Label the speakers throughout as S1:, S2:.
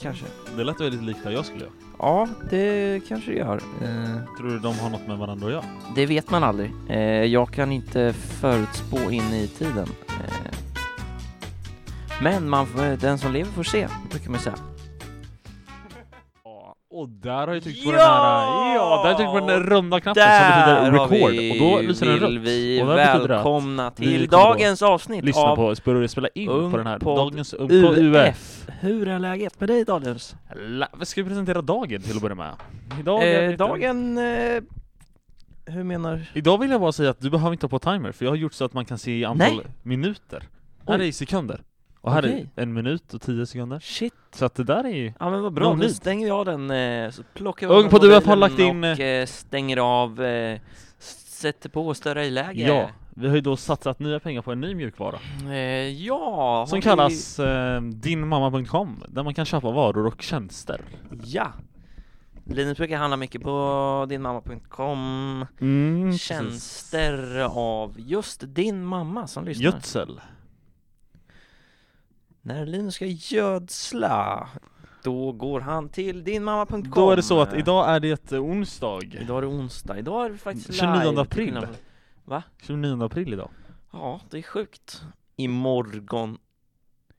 S1: kanske.
S2: Det lät väldigt likt vad jag skulle göra.
S1: Ja, det kanske det gör. Eh,
S2: Tror du de har något med varandra att göra?
S1: det vet man aldrig. Eh, jag kan inte förutspå in i tiden. Eh, men man, får- den som lever får se, brukar man säga.
S2: Ja, och där har jag tryckt på
S1: Ja!
S2: den här... Ja! Där har jag tryckt på den där runda knappen som betyder record. Och då lyser den
S1: vill
S2: rött.
S1: vi
S2: Och där betyder det att
S1: välkomna
S2: vi
S1: till
S2: kommer då
S1: dagens avsnitt
S2: Lyssna
S1: av
S2: på, börja spela in
S1: Ung
S2: på den här.
S1: podd
S2: Dagens Ung podd UF.
S1: UF. Hur är läget med dig Daniels?
S2: La- vad Ska vi presentera dagen till att börja med? Idag är
S1: Eh,
S2: det-
S1: dagen... Eh, hur menar...
S2: Idag vill jag bara säga att du behöver inte ha på timer, för jag har gjort så att man kan se i antal
S1: Nej.
S2: minuter. Här
S1: Oj.
S2: är i sekunder. Och här
S1: Okej.
S2: är en minut och tio sekunder.
S1: Shit.
S2: Så att det där är ju...
S1: Ja men vad bra,
S2: Någon
S1: nu
S2: vid.
S1: stänger jag den, eh, så plockar
S2: Ung
S1: av
S2: på
S1: mobilen
S2: DUF har lagt in,
S1: och eh, stänger av, eh, sätter på sterilläge.
S2: Ja, vi har ju då satsat nya pengar på en ny mjukvara.
S1: Eh, ja! har
S2: Som
S1: vi-
S2: kallas eh, dinmamma.com, där man kan köpa varor och tjänster.
S1: Ja! Linus brukar handla mycket på dinmamma.com
S2: Mm,
S1: Tjänster av just din mamma som lyssnar
S2: Gödsel.
S1: När Linus ska gödsla Då går han till dinmamma.com
S2: Då är det så att idag är det eh, onsdag.
S1: Idag är det onsdag, idag är det faktiskt
S2: 29
S1: live, till
S2: april.
S1: skillnad från-
S2: 29 april idag.
S1: Ja, det är sjukt Imorgon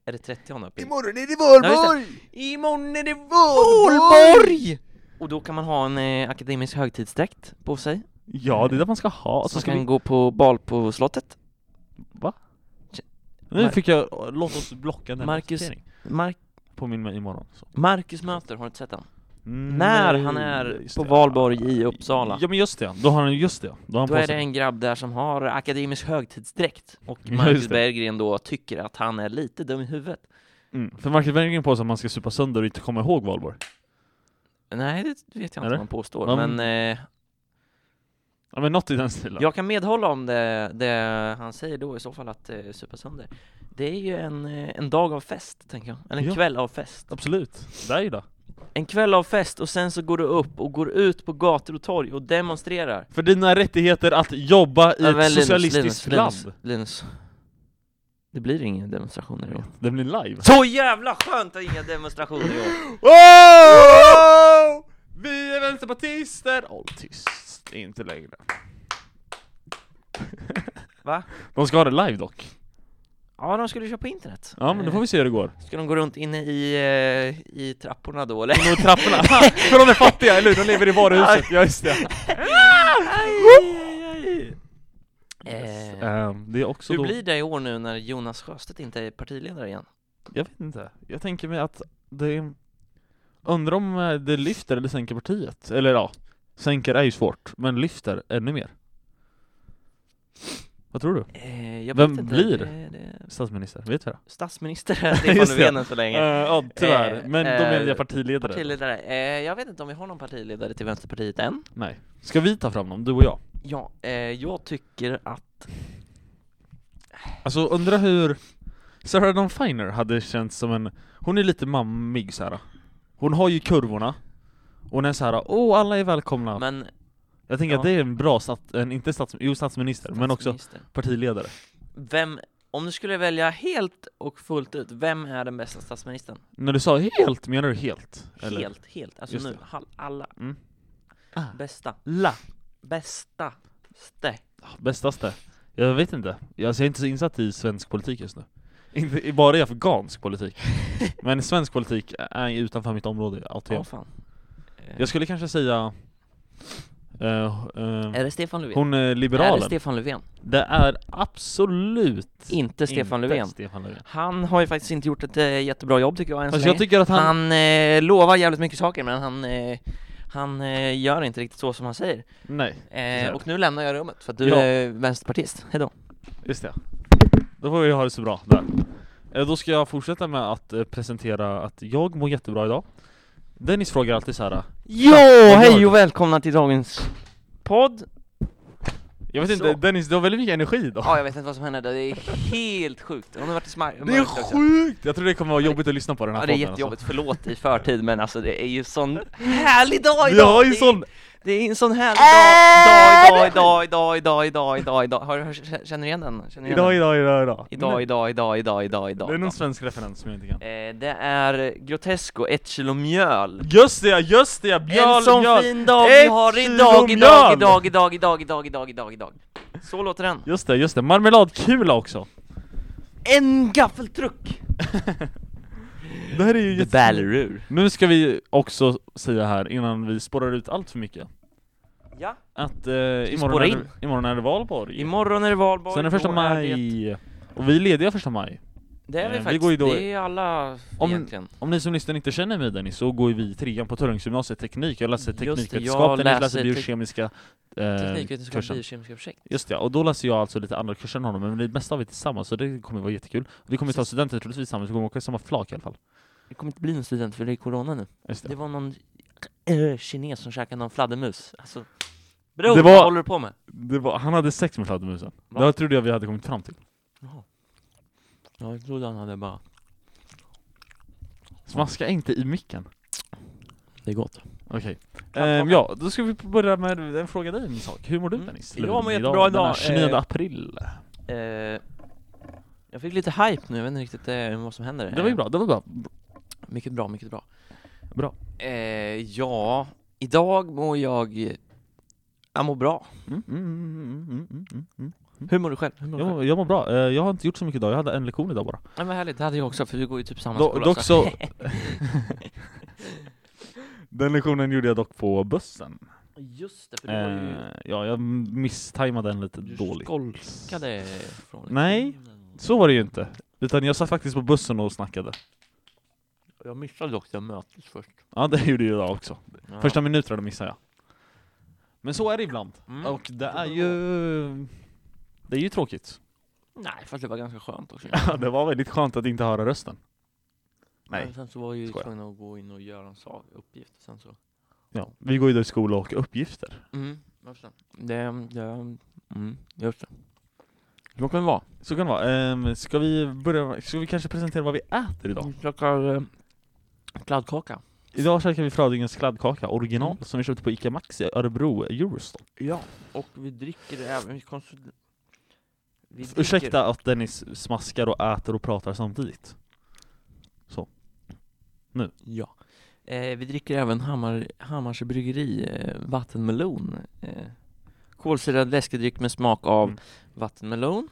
S1: Är det 30 april?
S2: Imorgon är det
S1: valborg! Imorgon är det valborg! Och då kan man ha en eh, akademisk högtidsdräkt på sig
S2: Ja, det är det man ska ha.
S1: Och
S2: Så
S1: så
S2: ska
S1: kan
S2: vi...
S1: gå på bal på slottet
S2: Va?
S1: Tje-
S2: Nu
S1: Mar-
S2: fick jag, låt oss blocka den
S1: Marcus-
S2: noteringen.
S1: Mar-
S2: Påminn mig imorgon. Så.
S1: Marcus möter, har du inte sett den?
S2: Mm,
S1: När
S2: nej,
S1: han är
S2: just
S1: på
S2: det.
S1: valborg i Uppsala
S2: Ja men just det, då har han just det. Då har han
S1: Då
S2: på
S1: är det
S2: sig-
S1: en grabb där som har akademisk högtidsdräkt Och
S2: Ja,
S1: Marcus
S2: just det.
S1: Berggren då tycker att han är lite dum i huvudet
S2: mm. För Marcus Wenngren på sig att man ska supa sönder och inte komma ihåg valborg.
S1: Nej, det vet jag inte
S2: Eller?
S1: om han påstår,
S2: Ja, men-
S1: men eh,
S2: Ja men något i den stilen.
S1: Jag kan medhålla om det, det han säger då i så fall att eh, supa sönder Det är ju en, eh, en dag av fest, tänker jag, eller en
S2: Ja.
S1: kväll av fest
S2: Absolut. Det är ju det.
S1: En kväll av fest och sen så går du upp och går ut på gator och torg och demonstrerar
S2: För dina rättigheter att jobba i
S1: Ja, men
S2: ett
S1: Linus,
S2: socialistiskt land.
S1: Linus, Linus, Det blir inga demonstrationer i år
S2: Det blir live.
S1: Så jävla skönt att inga demonstrationer i år!
S2: Oh! Vi är vänsterpartister! Håll tyst, inte längre.
S1: Va?
S2: De ska ha det live dock.
S1: Ja, de skulle ju köra på internet
S2: Ja men då får vi se hur det går.
S1: Eh, Ska de gå runt inne i, eh, i trapporna då eller?
S2: Inne i trapporna. För de är fattiga, eller hur? De lever i varuhuset, ja just det.
S1: Eh,
S2: Ehm, det är också
S1: Hur
S2: då...
S1: blir det i år nu när Jonas Sjöstedt inte är partiledare igen?
S2: Jag vet inte. Jag tänker mig att det... Undrar om eh, det lyfter eller sänker partiet. Eller ja, sänker är ju svårt, men lyfter ännu mer. Vad tror du?
S1: Eh, jag
S2: Vem
S1: vet inte.
S2: blir?
S1: Det, det,
S2: Statsminister, vet vi det?
S1: statsminister är Stefan
S2: Just det.
S1: Löfven än så länge.
S2: Eh, ja, tyvärr.
S1: Eh,
S2: men då menar
S1: eh,
S2: jag partiledare.
S1: Partiledare. Eh, jag vet inte om vi har någon partiledare till Vänsterpartiet än.
S2: Nej. Ska vi ta fram dem, du och jag?
S1: Ja, eh, jag tycker att
S2: Alltså undra hur Sarah Dawn Finer hade känts som en Hon är lite mammig så här. Hon har ju kurvorna Och hon är så här. åh alla är välkomna
S1: men
S2: Jag tänker att
S1: ja.
S2: det är en bra stat, en, inte stats, jo, statsminister, men också
S1: statsminister.
S2: partiledare
S1: Vem, om du skulle välja helt och fullt ut, vem är den bästa statsministern?
S2: När du sa helt, menar du helt? Eller?
S1: Helt, helt, alltså
S2: Just
S1: nu,
S2: det.
S1: hall- alla,
S2: Mm. Ah.
S1: bästa,
S2: La
S1: bästa, ste.
S2: Bästaste Jag vet inte, Alltså, jag jag är inte så insatt i svensk politik just nu inte, Bara i afghansk politik Men svensk politik är utanför mitt område,
S1: Ja,
S2: ATM
S1: fan. Eh,
S2: Jag skulle kanske säga eh, eh,
S1: är det Stefan Löfven?
S2: Hon är
S1: är
S2: liberalen.
S1: det Stefan Löfven?
S2: det är absolut
S1: Inte Stefan
S2: inte
S1: Löfven.
S2: Stefan Löfven.
S1: Han har ju faktiskt inte gjort ett eh, jättebra jobb tycker jag än så
S2: Alltså jag
S1: länge.
S2: tycker att han,
S1: Han eh, lovar jävligt mycket saker men han, eh, han eh, gör inte riktigt så som han säger.
S2: nej,
S1: Eh,
S2: Sådär.
S1: och nu lämnar jag rummet för att du
S2: Ja.
S1: är vänsterpartist. Hejdå.
S2: just det. Då får vi ha det så bra där. Eh, Då ska jag fortsätta med att eh, presentera att jag mår jättebra idag. Dennis frågar alltid så här. eh,
S1: Jo,
S2: vad gör
S1: hej
S2: du?
S1: och välkomna till dagens podd.
S2: Jag vet
S1: Så.
S2: inte, Dennis du har väldigt mycket energi idag.
S1: Ja, jag vet inte vad som hände, det är helt sjukt. Hon har varit i smar-
S2: det är
S1: mörkt också.
S2: sjukt! Jag tror det kommer vara jobbigt att lyssna på den här
S1: Ja, det är
S2: podden,
S1: jättejobbigt. Förlåt i förtid men alltså det är ju sån härlig dag
S2: Alltså.
S1: idag!
S2: Vi har ju
S1: Det är-
S2: sån
S1: Det är en sån här dag, dag, idag, idag, idag, idag, idag, idag. Har, har, känner du igen den? Känner du igen
S2: Idag,
S1: den?
S2: idag, idag, idag.
S1: Idag, idag, idag, idag, idag, idag.
S2: Det är någon
S1: idag.
S2: svensk referens som jag inte kan.
S1: Eh, det är Grotesco, ett kilo mjöl.
S2: Just det ja, just det ja! Björn,
S1: en sån
S2: Björn.
S1: fin dag vi
S2: Ett
S1: har
S2: kilo
S1: idag, idag,
S2: mjöl.
S1: idag, idag, idag, idag, idag, idag, idag. Så låter den.
S2: Just det, just det. Marmeladkula också.
S1: En gaffeltruck!
S2: Det här är ju
S1: The Ballerur.
S2: Nu ska vi också säga här, innan vi spårar ut allt för mycket,
S1: Ja,
S2: att eh, imorgon,
S1: spåra
S2: är
S1: in?
S2: det, imorgon är det valborg.
S1: imorgon är det valborg.
S2: Sen är det första
S1: då det-
S2: maj. Och vi är lediga första maj.
S1: Det är vi
S2: Eh, vi
S1: faktiskt,
S2: går ju då-
S1: det är alla
S2: Om- Eh,
S1: egentligen.
S2: Om ni som lyssnar inte känner mig Dennis, så går ju vi i trean på Törrungsgymnasiet teknik. Jag läser
S1: Just det, jag
S2: teknikvetenskap, Dennis läser
S1: läser tek-
S2: biokemiska eh,
S1: Teknikvetenskap,
S2: kursen.
S1: biokemiska projekt.
S2: Just det, och då läser jag alltså lite andra kurser än honom, men det mesta har vi tillsammans så det kommer vara jättekul. Vi kommer ta
S1: Precis.
S2: studenten troligtvis tillsammans, vi kommer åka i samma flak i alla fall.
S1: Det kommer inte bli någon student för det är corona nu.
S2: Just det.
S1: Det var någon eh, kines som käkade någon fladdermus. Alltså, bror,
S2: Det var-
S1: vad håller du på med?
S2: Det var, han hade sex med fladdermusen.
S1: Va?
S2: Det trodde jag vi hade kommit fram till.
S1: Jaha. Ja, jag trodde han hade bara...
S2: Smaska inte i micken.
S1: Det är gott.
S2: Okej.
S1: Kan
S2: Ehm,
S1: fråga.
S2: ja, då ska vi börja med en fråga dig en sak. Hur mår du
S1: Mm.
S2: Dennis?
S1: Jag
S2: Lund,
S1: mår jättebra
S2: denna
S1: idag.
S2: 29
S1: Eh,
S2: april.
S1: Eh, jag fick lite hype nu, jag vet inte riktigt eh, vad som händer.
S2: Det var ju
S1: Eh,
S2: bra, det var bra.
S1: Mycket bra, mycket bra.
S2: Bra.
S1: Eh, ja, idag mår jag... Jag mår bra.
S2: Mm, mm, mm, mm, mm, mm, mm.
S1: Hur mår du själv? Hur mår du
S2: Jag,
S1: själv?
S2: mår, jag mår bra. Eh, jag har inte gjort så mycket idag, jag hade en lektion idag bara.
S1: Ja, men härligt, det hade jag också för vi går ju typ samma
S2: Do,
S1: skola.
S2: dock
S1: så-
S2: så... Den lektionen gjorde jag dock på bussen.
S1: Just det, för
S2: Eh,
S1: du var ju...
S2: ja, jag misstajmade den lite
S1: Du
S2: dåligt.
S1: skolkade från
S2: Nej.
S1: lektionen.
S2: Så var det ju inte. Utan jag satt faktiskt på bussen och snackade.
S1: Jag missade dock det mötet först.
S2: Ja, det gjorde jag idag också.
S1: Ja.
S2: Första minuterna missade jag. Men så är det ibland.
S1: Mm.
S2: Och det är ju... Det är ju tråkigt.
S1: Nej, fast det var ganska skönt också.
S2: det var väldigt skönt att inte höra rösten. Nej.
S1: Men sen så var jag ju
S2: Skoja.
S1: tvungen att gå in och göra en sak, uppgift sen så.
S2: Ja, vi går ju då i skola och uppgifter.
S1: Mm, just det. Det, det, mm, just det. Vad kan det vara?
S2: Så kan det vara. Ehm, ska vi börja... Ska vi kanske presentera vad vi äter idag?
S1: Vi käkar eh, kladdkaka.
S2: Idag käkar vi Frödingens kladdkaka, original,
S1: Mm.
S2: som vi köpte på Ica Maxi i Örebro, Eurostop.
S1: Ja. Och vi dricker även, vi konsum... Vi dricker-
S2: Ursäkta att Dennis smaskar och äter och pratar samtidigt.
S1: Ja. Eh, vi dricker även Hammar, Hammars bryggeri eh, vattenmelon. Eh, kolsyrad läskedryck med smak av
S2: Mm.
S1: vattenmelon.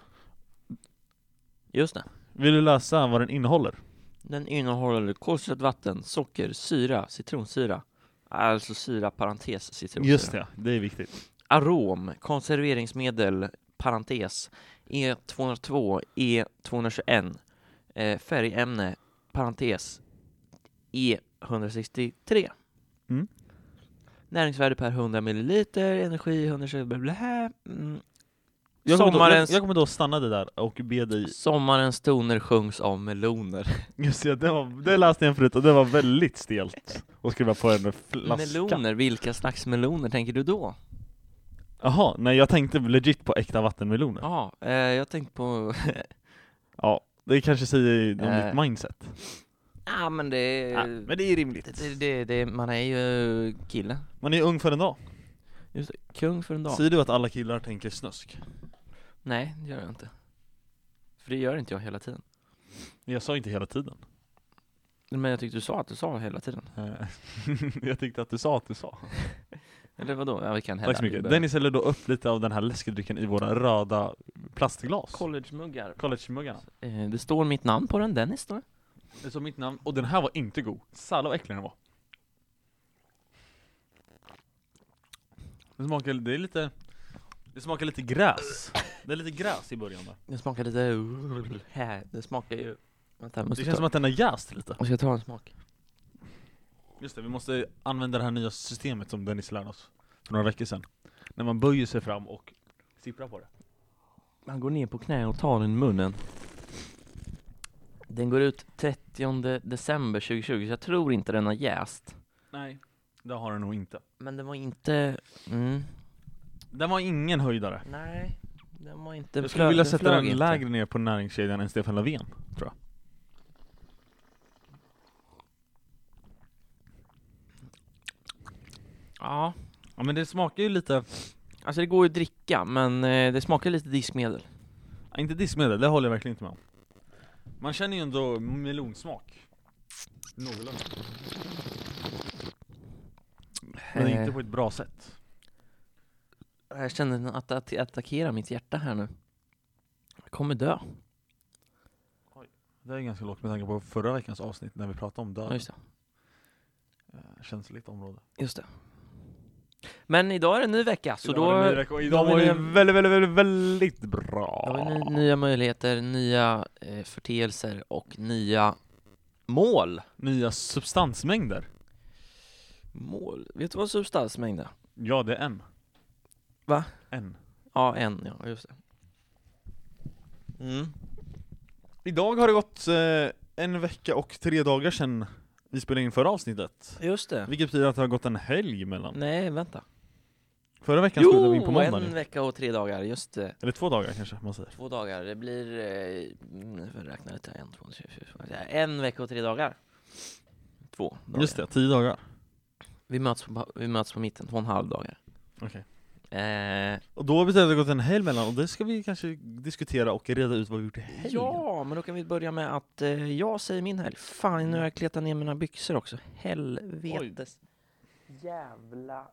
S1: Just det.
S2: Vill du läsa vad den innehåller?
S1: Den innehåller kolsyrat vatten, socker, syra, citronsyra. Alltså syra, parentes, citronsyra.
S2: Just det, det är viktigt.
S1: Arom, konserveringsmedel, parentes, E E202, E221. Eh, färgämne, parentes, E E163.
S2: Mm.
S1: Näringsvärde per 100 milliliter, energi 120 bla bla bla. Mm.
S2: Jag kommer, då, jag,
S1: Sommarens,
S2: jag kommer då stanna dig där och be dig...
S1: sommarens toner sjungs av meloner.
S2: Just det, det, var, det läste jag förut och det var väldigt stelt att skriva på en flaska.
S1: Meloner, vilka slags meloner tänker du då?
S2: Jaha, nej jag tänkte legit på äkta vattenmeloner. Ja,
S1: Ja, eh, jag tänkte på...
S2: det kanske säger om
S1: Eh.
S2: ditt mindset.
S1: ah, men det är...
S2: Ja, men det är rimligt.
S1: det, det, det, man är ju kille.
S2: Man är ung för en dag.
S1: Just det, kung för en dag.
S2: Säger du att alla killar tänker snusk?
S1: Nej, det gör jag inte. För det gör inte jag hela tiden.
S2: Jag sa inte hela tiden.
S1: Men jag tyckte du sa att du sa hela tiden.
S2: Eh, jag tyckte att du sa att du sa.
S1: Eller vadå? Ja, vi kan hälla.
S2: Tack så mycket. Dennis häller då upp lite av den här läskedrycken i våra röda plastglas.
S1: Collegemuggar.
S2: Collegemuggarna.
S1: Eh, det står mitt namn på den, Dennis står det.
S2: Det står mitt namn, och den här var inte god. Salla vad äcklig den var. Det smakar, det är lite, det smakar lite gräs. Det är lite gräs i början där.
S1: Det smakar lite... Här, Det smakar ju... Vänta, jag
S2: Det
S1: måste
S2: känns
S1: ta...
S2: som att den har jäst lite.
S1: Jag ska ta en smak.
S2: Just det, vi måste använda det här nya systemet som Dennis lärde oss för några veckor sedan. När man böjer sig fram och sipprar på det.
S1: Man går ner på knä och tar den i munnen. Den går ut 30 december 2020, så jag tror inte den har jäst.
S2: Nej. Det har den nog inte.
S1: Men den var inte... Mm,
S2: Den var ingen höjdare.
S1: nej, den var inte...
S2: Jag skulle vilja sätta
S1: flög
S2: den
S1: inte.
S2: lägre ner på näringskedjan än Stefan Löfven, tror jag.
S1: Ja,
S2: Ja men det smakar ju lite,
S1: Alltså det går ju att dricka, men eh, det smakar lite diskmedel.
S2: ja, inte diskmedel, det håller jag verkligen inte med om. Man känner ju ändå melonsmak. Någorlunda. Men
S1: Eh,
S2: inte på ett bra sätt.
S1: Jag känner att att attackera mitt hjärta här nu. Jag kommer dö.
S2: Det är ganska lågt med tanke på förra veckans avsnitt när vi pratade om
S1: Ja,
S2: döden.
S1: just det.
S2: Eh, Känsligt område.
S1: Just det. Men idag är det en ny vecka, så
S2: Idag
S1: då...
S2: var det ny vecka, och idag
S1: då
S2: var
S1: är
S2: det
S1: det-
S2: väldigt, väldigt, väldigt, väldigt bra.
S1: Då har vi ny, nya möjligheter, nya eh, förteelser och nya mål.
S2: Nya substansmängder.
S1: Mål? Vet du vad substansmängd är?
S2: Ja, det är en.
S1: Va?
S2: En.
S1: Ja, en ja, just det. Mm.
S2: Idag har det gått eh, en vecka och tre dagar sedan vi spelade in förra avsnittet.
S1: Just det.
S2: Vilket betyder att det har gått en helg emellan.
S1: Nej, vänta.
S2: Förra veckan spelade vi in på
S1: Jo,
S2: måndag
S1: en vecka och tre dagar, just det.
S2: Eller två dagar kanske man säger.
S1: Två dagar, det blir... Eh, mm, jag räknar lite, en, två, tre, fyra, fem, sex. en vecka och tre dagar. Två dagar.
S2: Just det, tio dagar.
S1: Vi möts på, vi möts på mitten, två och en halv dagar.
S2: Okej.
S1: Eh,
S2: Och då betyder det att det har gått en helg emellan och det ska vi kanske diskutera och reda ut vad vi gjort i helgen.
S1: Ja, men då kan vi börja med att eh, jag säger min helg. Fan, nu har jag kletat ner mina byxor också. Helvetes jävla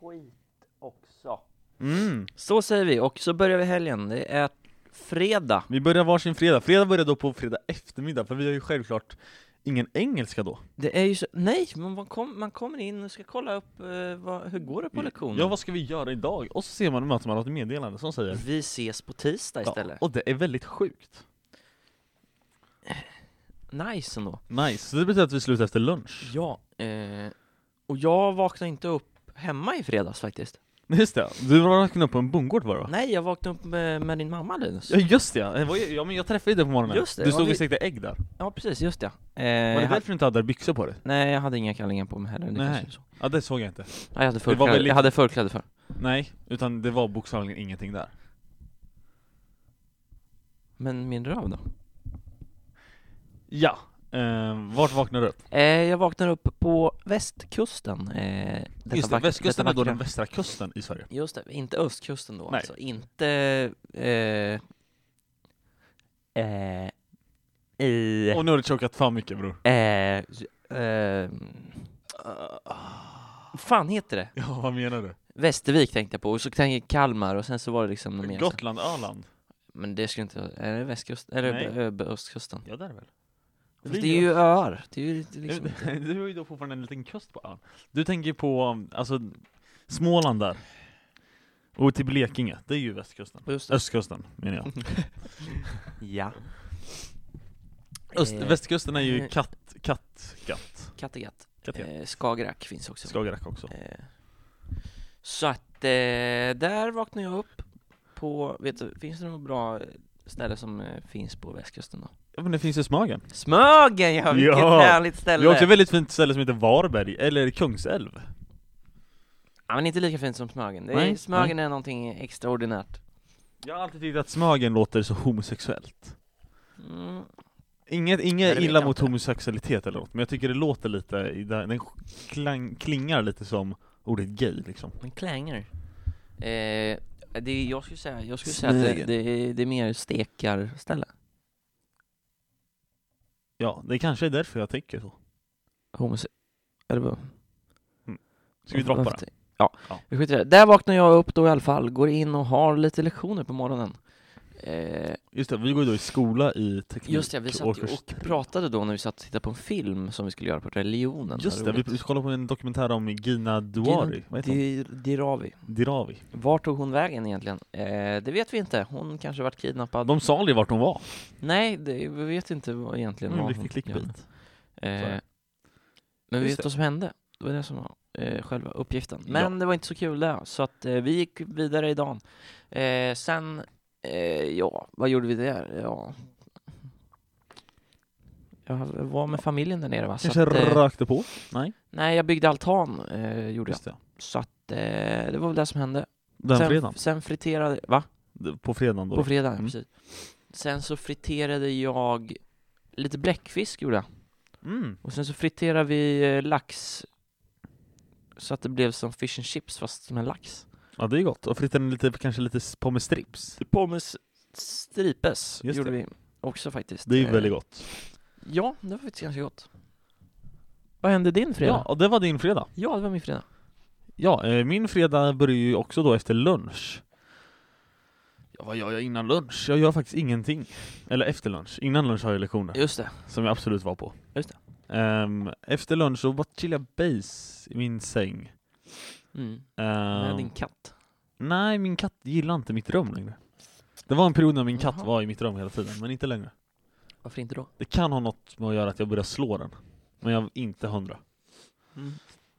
S1: skit också.
S2: Mm.
S1: Så säger vi, och så börjar vi helgen. Det är fredag.
S2: Vi börjar varsin fredag. Fredag börjar då på fredag eftermiddag, för vi har ju självklart ingen engelska då.
S1: Det är ju så... Nej, men man, kom, man kommer in och ska kolla upp eh, vad, hur går det på lektionen.
S2: Ja, vad ska vi göra idag? Och så ser man, möter man något meddelande som säger
S1: Vi ses på tisdag istället.
S2: Ja, och det är väldigt sjukt.
S1: Nice ändå.
S2: Nice, så det betyder att vi slutar efter lunch.
S1: Ja, eh, och jag vaknade inte upp hemma i fredags faktiskt.
S2: Nej, Just det, du var vaknade upp på en bondgård var det va?
S1: Nej, jag vaknade upp med, med din mamma Linus.
S2: Ja just det, ja. det var ju- ja, men jag träffade ju dig på morgonen.
S1: Just det,
S2: du
S1: ja,
S2: stod
S1: vi-
S2: och stekte ägg där.
S1: Ja, precis, just det. Eh,
S2: Var det
S1: jag hade-
S2: därför du inte hade byxor på dig?
S1: Nej, jag hade inga kallingar på mig heller. Det
S2: Nej.
S1: kanske är så.
S2: Ja det såg jag inte.
S1: Nej, jag hade
S2: var väl
S1: förkläde,
S2: lite-
S1: jag hade förkläde för.
S2: Nej, utan det var bokstavligen ingenting där.
S1: Men min röv då?
S2: Ja, eh, vart vaknade du upp?
S1: Eh, jag vaknar upp på västkusten. Eh, detta
S2: Just det,
S1: vackra-
S2: västkusten
S1: detta
S2: är då
S1: vackra-
S2: den västra kusten i Sverige.
S1: Just det, inte östkusten då
S2: Nej.
S1: alltså. Inte eh, eh, i
S2: Och nu har du chokat fan mycket bror.
S1: eh, eh, fan heter det?
S2: Ja, vad menar du?
S1: Västervik tänkte jag på, och så tänkte jag Kalmar och sen så var det liksom något mer så-
S2: Gotland, Öland?
S1: Men det skulle inte vara, är det västkusten? Eller
S2: Nej.
S1: ö- ö- östkusten?
S2: Ja, där väl.
S1: Fast det är ju öar, det är ju inte liksom inte-
S2: Du har ju då fortfarande en liten kust på ön. Du tänker på, alltså, Småland där. Och till Blekinge, det är ju västkusten.
S1: Just det.
S2: Östkusten, menar jag.
S1: Ja.
S2: Öst,
S1: Eh,
S2: västkusten är ju katt, katt, katt.
S1: Kattegatt.
S2: katt
S1: Eh, Skagerrak finns också.
S2: Skagerrak också.
S1: Eh, så att eh, där vaknar jag upp på, vet du, finns det något bra ställe som eh, finns på västkusten då?
S2: Ja, men det finns ju Smögen.
S1: Smögen ja, vilket
S2: Ja.
S1: härligt
S2: Vi har
S1: ställe!
S2: också ett väldigt fint ställe som heter Varberg, eller Kungsälv.
S1: Ja men inte lika fint som Smögen, det är,
S2: Nej,
S1: Smögen är någonting extraordinärt.
S2: Jag har alltid tyckt att Smögen låter så homosexuellt.
S1: Mm.
S2: Inget,
S1: Nej,
S2: inget
S1: det vet
S2: illa
S1: jag
S2: mot
S1: inte.
S2: homosexualitet eller något, men jag tycker det låter lite, i den den klang, klingar lite som ordet gay liksom.
S1: Men klänger. Eh, det, är- jag skulle säga, jag skulle säga att det,
S2: Smögen.
S1: det, är- det är mer stekarställe.
S2: Ja, det kanske är därför jag tycker så.
S1: Homose... Eller vad?
S2: Ska vi droppa det?
S1: Ja,
S2: Ja.
S1: vi skiter i det. Där vaknar jag upp då i alla fall, går in och har lite lektioner på morgonen. Eh,
S2: Just det, vi går ju då i skola i teknik
S1: just det, vi satt ju
S2: årskurs
S1: och
S2: tre.
S1: pratade då när vi satt och tittade på en film som vi skulle göra på religionen.
S2: Just det, vi vi kollade på en dokumentär om Gina Duari, vad heter hon?
S1: det Diravi.
S2: Dirawi.
S1: Vart tog hon vägen egentligen? Eh, det vet vi inte. Hon kanske varit kidnappad.
S2: De sa aldrig vart hon var.
S1: Nej, det, vi vet inte vad egentligen
S2: Mm,
S1: vad
S2: riktig
S1: hon gör.
S2: clickbait.
S1: Eh,
S2: Sådär.
S1: men vi
S2: Just
S1: vet
S2: det.
S1: vad som hände. Det var det som var eh, själva uppgiften.
S2: Ja.
S1: Men det var inte så kul det, så att eh, vi gick vidare i dagen. Eh, sen, eh, ja, vad gjorde vi där? Ja. Jag var med familjen där nere va? Så
S2: Kanske
S1: att, eh,
S2: rökte på? Nej,
S1: nej, jag byggde altan, eh, gjorde jag.
S2: just det.
S1: Så att eh, det var väl det som hände.
S2: Den
S1: sen,
S2: fredagen?
S1: sen friterade, va?
S2: På fredagen då?
S1: På fredagen,
S2: Mm.
S1: precis. Sen så friterade jag lite bläckfisk gjorde jag.
S2: mm.
S1: Och sen så friterar vi eh, lax så att det blev som fish and chips fast med lax.
S2: Ja det är gott, och frittade den lite, kanske lite s- på med strips
S1: Pommes stripes
S2: Just
S1: gjorde
S2: det.
S1: vi också faktiskt.
S2: Det är ju
S1: Eh,
S2: väldigt gott
S1: Ja, det var faktiskt ganska gott. Vad hände din fredag?
S2: Ja, och det var din fredag
S1: ja det var min fredag.
S2: Ja, eh, min fredag börjar ju också då efter lunch Ja vad gör jag innan lunch? Jag gör faktiskt ingenting Eller efter lunch, innan lunch har jag lektioner
S1: Just det.
S2: Som jag absolut var på.
S1: Just
S2: Ehm, efter lunch så bara chilla base i min säng.
S1: Mm.
S2: Ehm,
S1: Med din katt.
S2: Nej, min katt gillar inte mitt rum längre. Det var en period när min katt
S1: Jaha.
S2: var i mitt rum hela tiden, men inte längre.
S1: Varför inte då?
S2: Det kan ha något med att göra att jag började slå den. Men jag är inte hundra.
S1: Mm.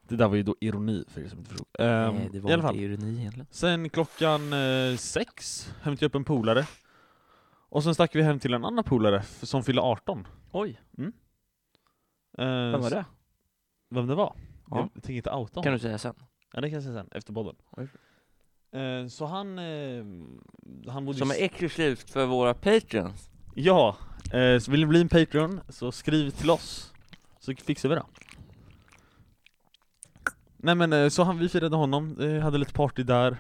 S2: Det där var ju då ironi för er som inte förstod. Ehm,
S1: Nej, det var
S2: I alla fall.
S1: inte ironi egentligen.
S2: Sen klockan eh, sex hämtade jag upp en polare. Och sen stack vi hem till en annan polare f- som fyllde 18.
S1: Oj,
S2: Ehm,
S1: vem var det?
S2: Vem det var?
S1: Ja.
S2: Jag tänker inte outa
S1: Kan du säga sen.
S2: Ja det kan jag säga sen, efter podden.
S1: Oj.
S2: Eh, så han... Eh, han bodde i
S1: Som är
S2: s-
S1: exklusivt för våra patreons.
S2: Ja! Eh, så vill ni bli en Patreon, så skriv till oss. Så fixar vi det. Nej men eh, så han, vi firade honom, eh, hade lite party där.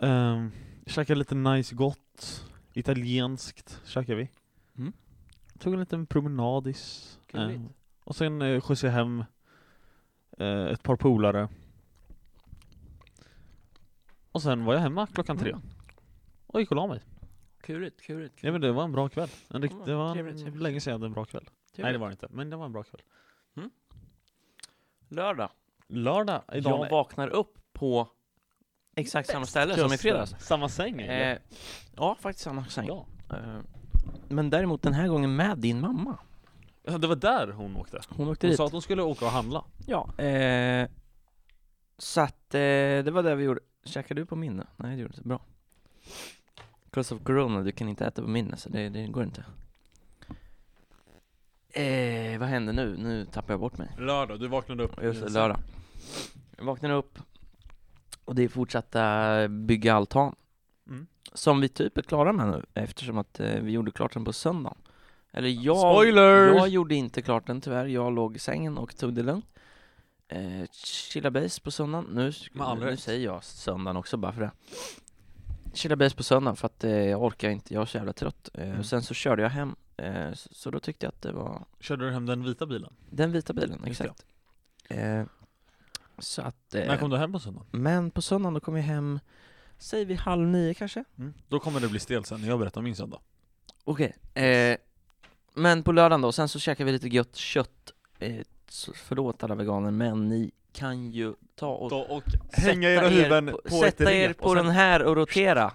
S2: Eh, käkade lite nice gott. Italienskt käkade vi.
S1: Mm.
S2: Tog en liten promenadis.
S1: Gulligt.
S2: och sen eh, skjutsade jag hem eh, ett par polare. Och sen var jag hemma klockan
S1: Mm.
S2: tre. Och gick och la mig.
S1: Kurigt, kurigt.
S2: Ja men det var en bra kväll. En rikt-
S1: Ja,
S2: det var
S1: trevligt,
S2: en,
S1: trevligt.
S2: länge sedan jag hade en bra kväll. Nej det var det inte, men det var en bra kväll.
S1: Lördag.
S2: Lördag idag
S1: Jag
S2: med-
S1: vaknar upp på exakt samma ställe som i
S2: Just
S1: fredags.
S2: det. Samma säng? eller?
S1: Eh, ja, faktiskt samma säng.
S2: ja.
S1: Eh, Men däremot den här gången med din mamma.
S2: ja. Det var där hon åkte.
S1: Hon åkte
S2: Hon
S1: dit.
S2: sa att hon skulle åka och handla.
S1: Ja. Eh, så att eh, det var det vi gjorde. Käkade du på minne? Nej det gjorde du inte. Bra. Because of corona, du kan inte äta på minne så det, det går inte. Eh, vad hände nu? Nu tappar jag bort mig.
S2: Lördag, du vaknade upp. Mm.
S1: Just det, lördag. Jag vaknade upp och det är fortsatta bygga altan.
S2: Mm.
S1: Som vi typ är klara med nu eftersom att eh, vi gjorde klart den på söndagen. Eller jag,
S2: Spoilers!
S1: jag gjorde inte klart den tyvärr. Jag låg i sängen och tog det lugnt. Eh, chilla base på söndagen. Nu,
S2: Med all
S1: nu
S2: rätt.
S1: säger jag söndagen också bara för det. Chilla base på söndagen för att eh, jag orkar inte, jag är så jävla trött. Eh,
S2: Mm.
S1: och sen så körde jag hem, eh, så, så då tyckte jag att det var
S2: Körde du hem den vita bilen?
S1: den vita bilen,
S2: Just
S1: exakt. Eh, så att, eh,
S2: När kom du hem på söndagen?
S1: men på söndagen då kom jag hem, säger vi halv nio kanske?
S2: Då kommer det bli stel sen när jag berättar om min söndag.
S1: Okej. Eh, men på lördagen då, sen så käkar vi lite gött kött. Eh, så- förlåt alla veganer, men ni kan ju ta och
S2: Då och
S1: sätta sätta er på den här och rotera.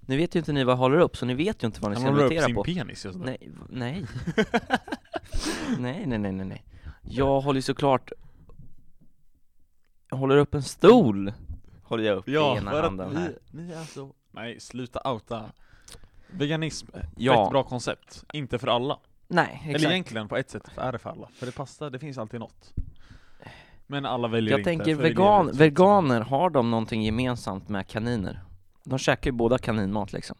S1: Nu vet ju inte ni vad jag håller upp, så ni vet ju inte vad ni
S2: Han
S1: ska
S2: håller upp
S1: rotera
S2: sin
S1: på.
S2: penis just nu.
S1: Nej, v- nej. nej, nej, nej, nej, nej. Jag håller ju såklart... Jag håller upp en stol, håller jag upp i
S2: Ja,
S1: ena
S2: för
S1: handen
S2: att
S1: här.
S2: vi, ni är alltså- så... Nej, sluta outa. Veganism,
S1: Ja.
S2: ett bra koncept. Inte för alla.
S1: Nej,
S2: Eller
S1: exakt.
S2: egentligen på ett sätt är det för alla, för det passar, det finns alltid något. Men alla väljer
S1: Jag
S2: inte.
S1: tänker
S2: för vi
S1: vegan,
S2: lever ett sätt
S1: veganer, har de någonting gemensamt med kaniner? De käkar ju båda kaninmat liksom.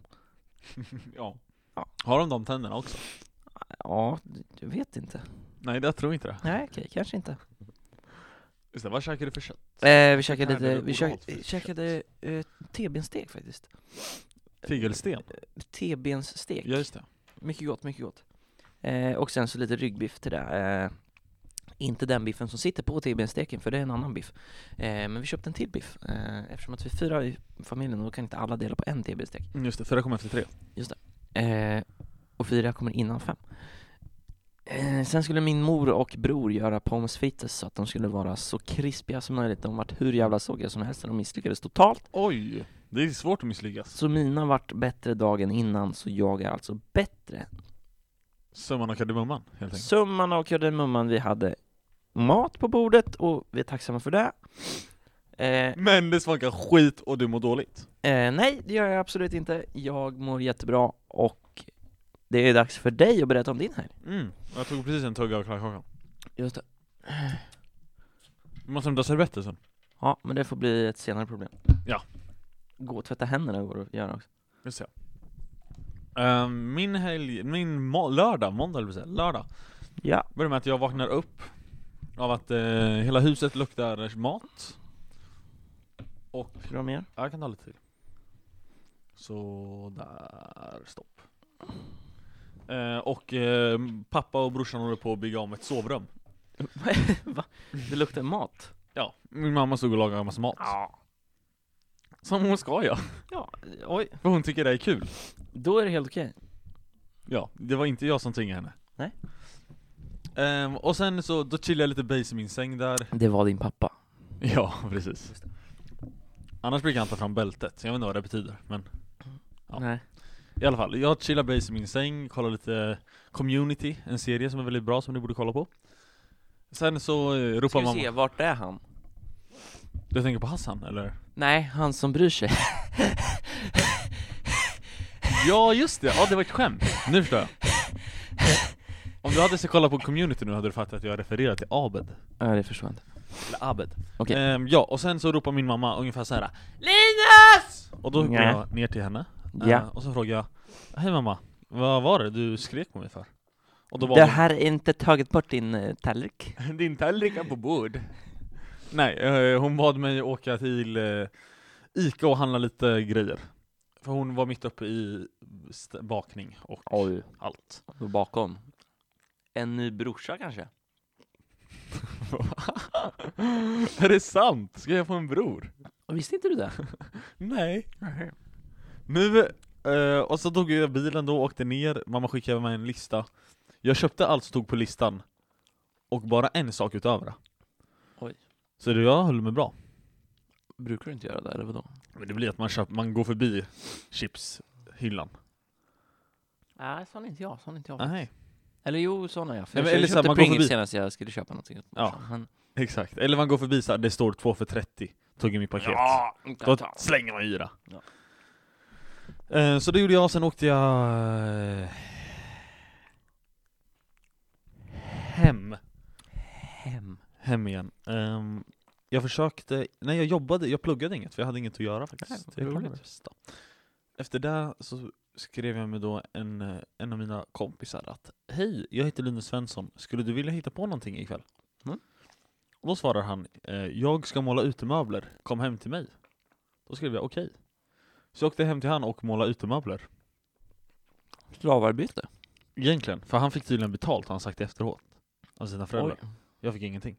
S2: som- Ja.
S1: Ja.
S2: Har de de tänderna också?
S1: Ja, jag vet inte.
S2: Nej, jag tror inte det.
S1: Nej, okej, kanske inte.
S2: Just det, vad käkar du för kött?
S1: Eh, vi käkade
S2: Här är
S1: lite,
S2: det
S1: vi käk,
S2: oralt kött.
S1: käkade eh, tebensteg faktiskt. Eh,
S2: Tegelsten?
S1: Tebenssteg.
S2: Ja, just det.
S1: Mycket gott, mycket gott. Eh, och sen så lite ryggbiff till det. Eh, inte den biffen som sitter på tibbensteken, för det är en annan biff. Eh, men vi köpte en till biff, eh, eftersom att vi är fyra i familjen och då kan inte alla dela på en tibbenstek.
S2: Mm, Just det, för det kom efter tre.
S1: Eh, och fyra kommer innan fem. Eh, sen skulle min mor och bror göra pommes frites så att de skulle vara så krispiga som möjligt. De vart hur jävla sågiga som helst och de misslyckades totalt.
S2: Oj! Det är svårt att misslyckas.
S1: Så mina vart bättre dagen innan, så jag är alltså bättre
S2: Summan och kardemumman, helt enkelt.
S1: Summan av kardemumman, vi hade mat på bordet och vi är tacksamma för det. Eh,
S2: Men det smakar skit och du mår dåligt.
S1: eh, nej, det gör jag absolut inte. Jag mår jättebra och det är dags för dig att berätta om din helg.
S2: Mm. Jag tog precis en tugga av kladdkakan.
S1: Just det.
S2: Vi måste hämta servetter sen.
S1: Ja, men det får bli ett senare problem.
S2: Ja.
S1: Gå och tvätta händerna går att göra också.
S2: Just det. Ehm, min helg, min må- lördag, måndag eller lördag.
S1: Ja.
S2: Börjar med att jag vaknar upp Av att eh, hela huset luktar mat. Och
S1: Ska du ha mer?
S2: Ja, jag kan ta lite till. Så där, stopp. Eh, och eh, pappa och brorsan håller på att bygga om ett sovrum.
S1: Va? Det luktar mat.
S2: Ja, min mamma stod och lagade en massa mat.
S1: Ja.
S2: Som hon ska ja,
S1: Ja, oj.
S2: för hon tycker det är kul.
S1: Då är det helt okej.
S2: Ja, det var inte jag som tvingade henne.
S1: Nej.
S2: Ehm, och sen så, då chillade jag lite base i min säng där.
S1: Det var din pappa.
S2: Ja, precis.
S1: Just
S2: Annars brukar han ta fram bältet, jag vet inte vad det betyder. Men Ja.
S1: Nej.
S2: i alla fall, jag chillar base i min säng, kollar lite Community, en serie som är väldigt bra som ni borde kolla på. Sen så eh,
S1: Ska
S2: ropar
S1: vi se,
S2: mamma...
S1: vart är han?
S2: Du tänker på Hassan eller?
S1: Nej, han som bryr sig.
S2: Ja just det, ja det var ett skämt. Nu förstår jag. Om du hade sett kolla på community nu hade du fattat att jag refererar till Abed.
S1: Ja, det förstår jag inte.
S2: Eller Abed.
S1: Okej.
S2: Ehm, ja, och sen så ropar min mamma ungefär så här. Linus! Och då går
S1: Nja.
S2: jag ner till henne. eh,
S1: Ja.
S2: och så frågar jag, Hej mamma, vad var det du skrek på mig för? Och då var
S1: Det
S2: hon-
S1: här är inte tagit bort din eh, tallrik.
S2: Din tallrik är på bord. Nej, eh, hon bad mig åka till eh, Ica och handla lite grejer. För hon var mitt uppe i st- bakning och
S1: Oj.
S2: allt.
S1: Och bakom. En ny brorsa kanske?
S2: är det sant? Ska jag få en bror?
S1: Visste inte du det?
S2: Nej. Nu, eh, och så tog jag bilen då, åkte ner, mamma skickade med en lista. Jag köpte allt som stod på listan, och bara en sak utöver det.
S1: Oj.
S2: Så det, jag höll mig bra.
S1: Brukar du inte göra det, eller vadå?
S2: Men det blir att man, köp, man går förbi chipshyllan.
S1: Nej, sån är inte jag. Sån är inte jag.
S2: Nej.
S1: Eller jo, sån är jag. För
S2: Nej,
S1: jag,
S2: men
S1: jag
S2: eller så här,
S1: köpte
S2: man går
S1: Pringles
S2: förbi.
S1: senast jag skulle köpa någonting. åt
S2: Ja.
S1: morsan, men-
S2: Exakt. Eller man går förbi så här, det står två för 30, tog i mitt paket.
S1: Ja, inte
S2: Då
S1: att ta.
S2: slänger man i det.
S1: Ja.
S2: Eh, Så det gjorde jag, sen åkte jag eh, hem.
S1: Hem.
S2: Hem igen. Ehm, jag försökte, nej jag jobbade, jag pluggade inget för jag hade inget att göra
S1: Nej,
S2: faktiskt.
S1: vad
S2: jag kollade
S1: roligt.
S2: det bästa. Efter det så skrev jag med då en, eh, en av mina kompisar att Hej, jag heter Linus Svensson, skulle du vilja hitta på någonting ikväll?
S1: Mm.
S2: Och då svarar han, eh, jag ska måla utemöbler, kom hem till mig. Då skrev jag okej. Så jag åkte hem till han och målade utemöbler.
S1: Slavarbete.
S2: Egentligen, för han fick tydligen betalt har han sagt efteråt. Av sina föräldrar.
S1: Oj.
S2: Jag fick ingenting.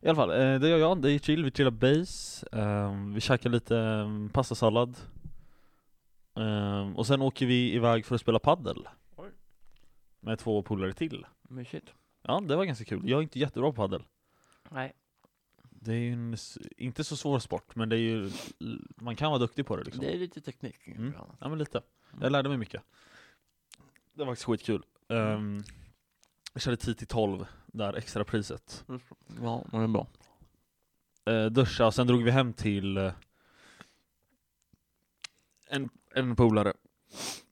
S2: I alla fall, eh, det gör jag. Det är chill. Vi chillar base. ehm, vi käkar lite um, pastasallad. Ehm, och sen åker vi iväg för att spela paddel.
S1: Oj.
S2: Med två polare till.
S1: Mysigt.
S2: Ja, det var ganska kul. Jag är inte jättebra på paddel.
S1: Nej.
S2: Det är ju en, s- inte så svår sport, men det är ju, man kan vara duktig på det liksom.
S1: Det är lite teknik.
S2: Mm.
S1: bra.
S2: Ja men lite. Jag lärde mig mycket. Det var faktiskt skitkul. Um, jag körde 10 till 12 där, extra priset.
S1: Ja, men det är bra.
S2: Eh, duscha, och sen drog vi hem till eh, en, en polare.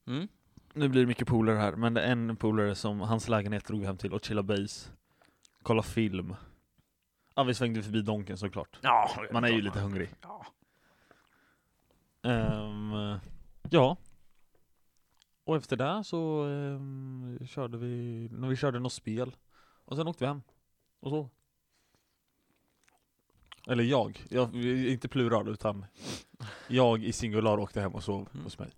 S1: Mm.
S2: Nu blir det mycket polare här, men det är en polare som hans lägenhet drog vi hem till och chilla base. Kolla film. Ja, vi svängde förbi Donken såklart.
S1: Ja,
S2: Man är ju lite hungrig.
S1: Ja.
S2: Ehm, ja. Och efter det så ehm, körde vi, när vi körde något spel. Och sen åkte vi hem. Och så. Eller jag. jag inte plural, utan jag i singular åkte hem och sov
S1: Mm.
S2: hos mig.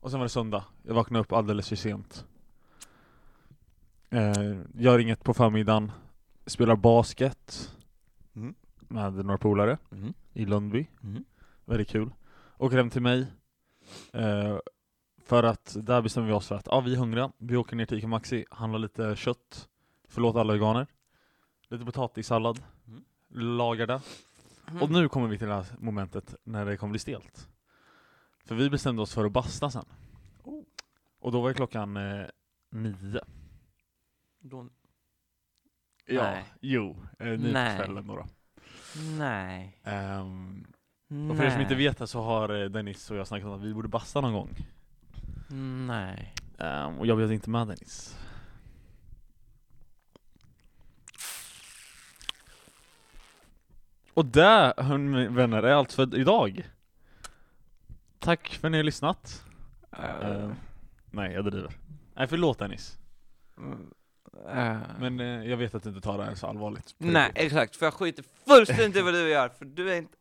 S2: Och sen var det söndag. Jag vaknade upp alldeles för sent. Eh, gör inget på förmiddagen. Spelar basket.
S1: Mm.
S2: Med några polare
S1: Mm.
S2: i Lundby.
S1: Mm.
S2: Väldigt kul. Åker hem till mig. Eh, för att där bestämmer vi oss för att ja, vi är hungriga. Vi åker ner till Ica Maxi, handlar lite kött. Förlåt alla veganer. Lite potatissallad.
S1: Mm.
S2: Lagar det. Och nu kommer vi till det här momentet när det kommer bli stelt. För vi bestämde oss för att basta sen.
S1: Oh.
S2: Och då var ju klockan eh, nio.
S1: Då...
S2: Ja,
S1: Nej.
S2: jo, eh, nio
S1: Nej.
S2: på kvällen då. då.
S1: Nej.
S2: Ehm,
S1: Nej.
S2: och för er som inte vet det så har eh, Dennis och jag snackat om att vi borde basta någon gång.
S1: Nej.
S2: Ehm, och jag bjöd inte med Dennis. Och det, hörni, vänner, är allt för idag. Tack för att ni har
S1: Eh,
S2: lyssnat. Ehm, nej, jag driver. Nej, förlåt Dennis.
S1: Mm. Eh,
S2: Men eh, jag vet att du inte tar det här så allvarligt. på
S1: Nej,
S2: riktigt.
S1: exakt, för jag skiter fullständigt i vad du gör, för du är inte...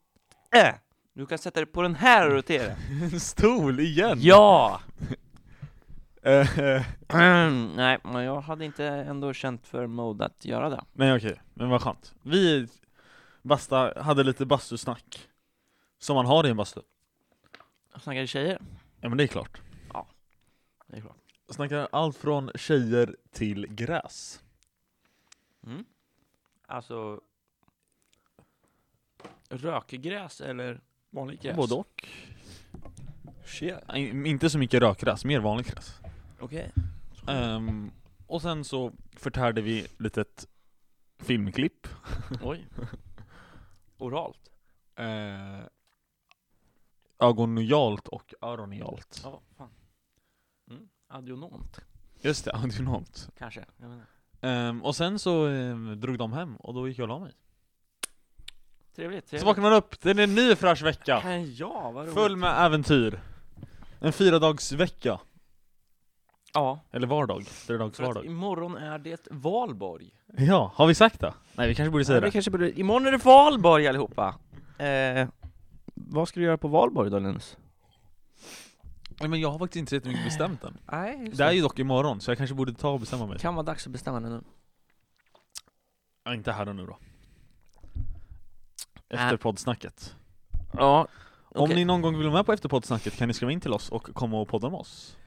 S1: Äh! Du kan sätta dig på den här och rotera.
S2: En stol igen!
S1: Ja!
S2: Eh, eh,
S1: Nej, men jag hade inte ändå känt för mod att göra det.
S2: Nej okej, men vad skönt. Vi basta, hade lite bastusnack. Som man har i en bastu.
S1: Jag snackade tjejer.
S2: Ja men det är klart.
S1: Det är klart.
S2: Snackar allt från tjejer till gräs.
S1: Mm. Alltså... Rökgräs eller vanligt gräs?
S2: Både och. Nej, Inte så mycket rökgräs, mer vanligt gräs.
S1: Okej.
S2: Ehm, och sen så förtärde vi litet filmklipp.
S1: Oj. Oralt.
S2: Uh, ögonojalt och öronialt.
S1: Ja, fan. Mm. Adionomt,
S2: Just det, audionomt.
S1: kanske. Jag menar.
S2: Ehm, och sen så ehm, drog de hem och då gick jag och la mig.
S1: Trevligt,
S2: Så
S1: trevligt.
S2: vaknade man upp, det är en ny fräsch vecka.
S1: Ja, ja vad roligt.
S2: Full med äventyr. En fyradagsvecka.
S1: Ja.
S2: Eller vardag.
S1: För att
S2: Fyradagsvardag.
S1: imorgon är det valborg.
S2: Ja, har vi sagt det? Nej vi kanske borde säga
S1: Nej, vi
S2: det.
S1: kanske borde... Imorgon är det valborg allihopa! Eh, vad ska du göra på valborg då Linus?
S2: Nej, men jag har faktiskt inte så mycket bestämt än.
S1: Nej, just
S2: Det är ju dock imorgon, så jag kanske borde ta och bestämma mig.
S1: kan vara dags att bestämma det nu.
S2: Ja, inte här och nu då.
S1: Äh.
S2: Efterpoddsnacket.
S1: Ja.
S2: Om ni någon gång vill vara med på efterpoddsnacket kan ni skriva in till oss och komma och podda med oss.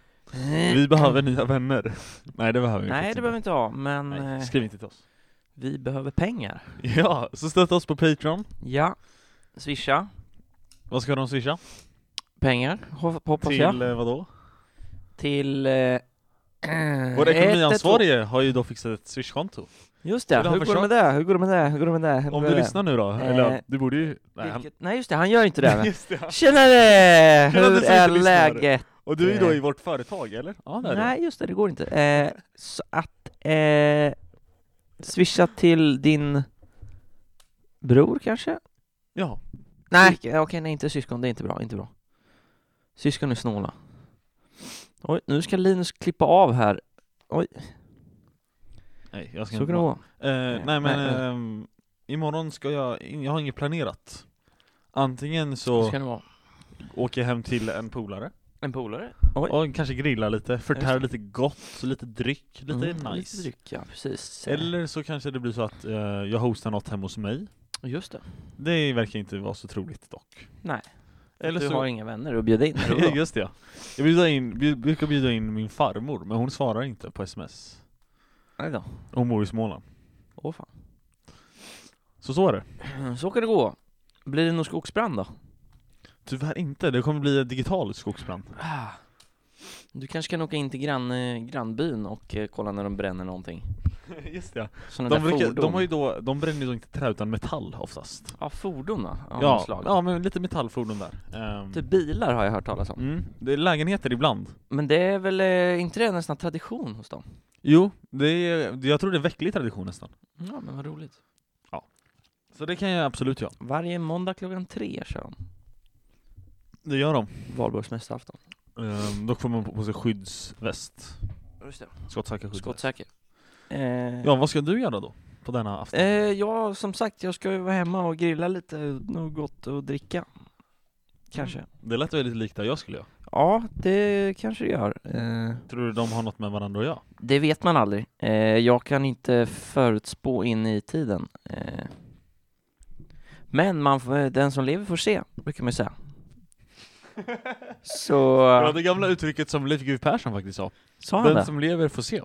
S2: Vi behöver nya vänner. Nej det behöver
S1: Eh, Mm.
S2: vi
S1: Nej,
S2: faktiskt
S1: det behöver vi inte ha, men
S2: Nej,
S1: eh,
S2: skriv inte till oss.
S1: vi behöver pengar.
S2: Ja, så stötta oss på Patreon.
S1: Ja. Swisha.
S2: Vad ska de swisha?
S1: Pengar, ho- hoppas jag.
S2: Till eh, vadå?
S1: Till... Eh,
S2: Vår
S1: ett, ett,
S2: ekonomiansvarige har ju då fixat ett swishkonto.
S1: två. Just det,
S2: Vill han
S1: hur går det med det? Hur går det med det? Hur går det med det? Hur går
S2: Om
S1: det
S2: du
S1: med det?
S2: lyssnar nu då,
S1: Eh,
S2: eller du borde ju... Nej, han...
S1: Vilket... Nej just det, han gör inte det.
S2: Just det.
S1: Tjenare!
S2: Kul att du
S1: Hur
S2: som
S1: är
S2: inte lyssnar.
S1: läget?
S2: Och du är ju då i vårt företag eller? Ja det är
S1: Eh. Nej, just det, det går inte. Eh, så att eh, swisha till din bror kanske?
S2: du. Ja.
S1: Nej, okej, nej, inte syskon, det är inte bra, inte bra. Syskon är snåla. Oj, nu ska Linus klippa av här.
S2: Nej, jag ska
S1: Så kan
S2: inte
S1: det vara.
S2: Eh, nej men,
S1: nej, nej.
S2: ehm, imorgon ska jag, jag har inget planerat. Antingen så
S1: Så kan det vara.
S2: åker jag hem till en polare,
S1: En polare? Oj.
S2: och kanske grillar lite, förtär
S1: Just
S2: lite gott, lite dryck, lite
S1: Mm,
S2: nice.
S1: Lite dryck, ja, precis.
S2: Eller så kanske det blir så att eh, jag hostar något hemma hos mig.
S1: Just det.
S2: Det verkar inte vara så troligt dock.
S1: Nej.
S2: Eller
S1: du
S2: så...
S1: har inga vänner att bjuda in. eller vadå?
S2: Just det ja. Jag bjuder in, bjud, brukar bjuda in min farmor, men hon svarar inte på sms.
S1: Nej då.
S2: Hon bor i Småland.
S1: Åh fan.
S2: Så så är det.
S1: Så kan det gå. Blir det någon skogsbrand då?
S2: Tyvärr inte, det kommer bli en digital skogsbrand.
S1: Ah. Du kanske kan åka in till grann, eh, grannbyn och eh, kolla när de bränner någonting.
S2: Just det ja.
S1: Såna
S2: De,
S1: där
S2: brukar,
S1: fordon.
S2: de, har ju då, de bränner ju då inte trä utan metall oftast.
S1: Ja, fordon då, av något
S2: Ja,
S1: slag.
S2: ja men lite metallfordon där. Ehm,
S1: Typ bilar har jag hört talas om.
S2: mm, det är lägenheter ibland.
S1: Men det är väl eh, inte det nästan tradition hos dem?
S2: Jo, det är, jag tror det är vecklig tradition nästan.
S1: Ja, men vad roligt.
S2: Så det kan jag absolut göra.
S1: Varje måndag klockan tre kör de
S2: Det gör de.
S1: valborgsmässoafton.
S2: Ehm, då får man på- på sig skyddsväst.
S1: Just det.
S2: Skottsäker skyddsväst.
S1: Skottsäker. Eh,
S2: Ja, vad ska du göra då? På denna afton?
S1: eh, ja, som sagt, jag ska ju vara hemma och grilla lite, något gott att dricka. Kanske.
S2: Det lät väldigt likt det jag skulle göra.
S1: Ja, det kanske det gör. Eh,
S2: Tror du de har något med varandra att göra?
S1: Det vet man aldrig. Eh, jag kan inte förutspå in i tiden. Eh, men man, får- eh, den som lever får se, brukar man ju säga. Så...
S2: Det var det gamla uttrycket som Leif GW Persson faktiskt sa.
S1: Sa han
S2: Den
S1: det?
S2: som lever får se.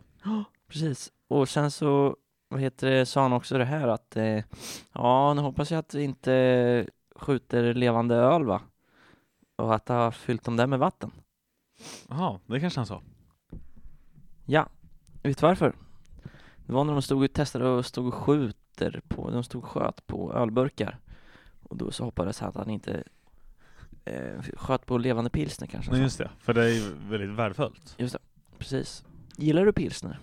S1: Precis. Och sen så, vad heter det, sa han också det här att eh, ja, nu hoppas jag att vi inte skjuter levande öl va? Och att jag har fyllt dem där med vatten.
S2: Jaha, det kanske han sa.
S1: Ja, vet du varför? Det var när de stod och testade och stod och skjuter på, de stod och sköt på ölburkar. Och då så hoppades han att han inte eh, sköt på levande pilsner kanske.
S2: Nej
S1: han sa.
S2: just det, för det är ju väldigt värdefullt.
S1: Precis. Gillar du pilsner?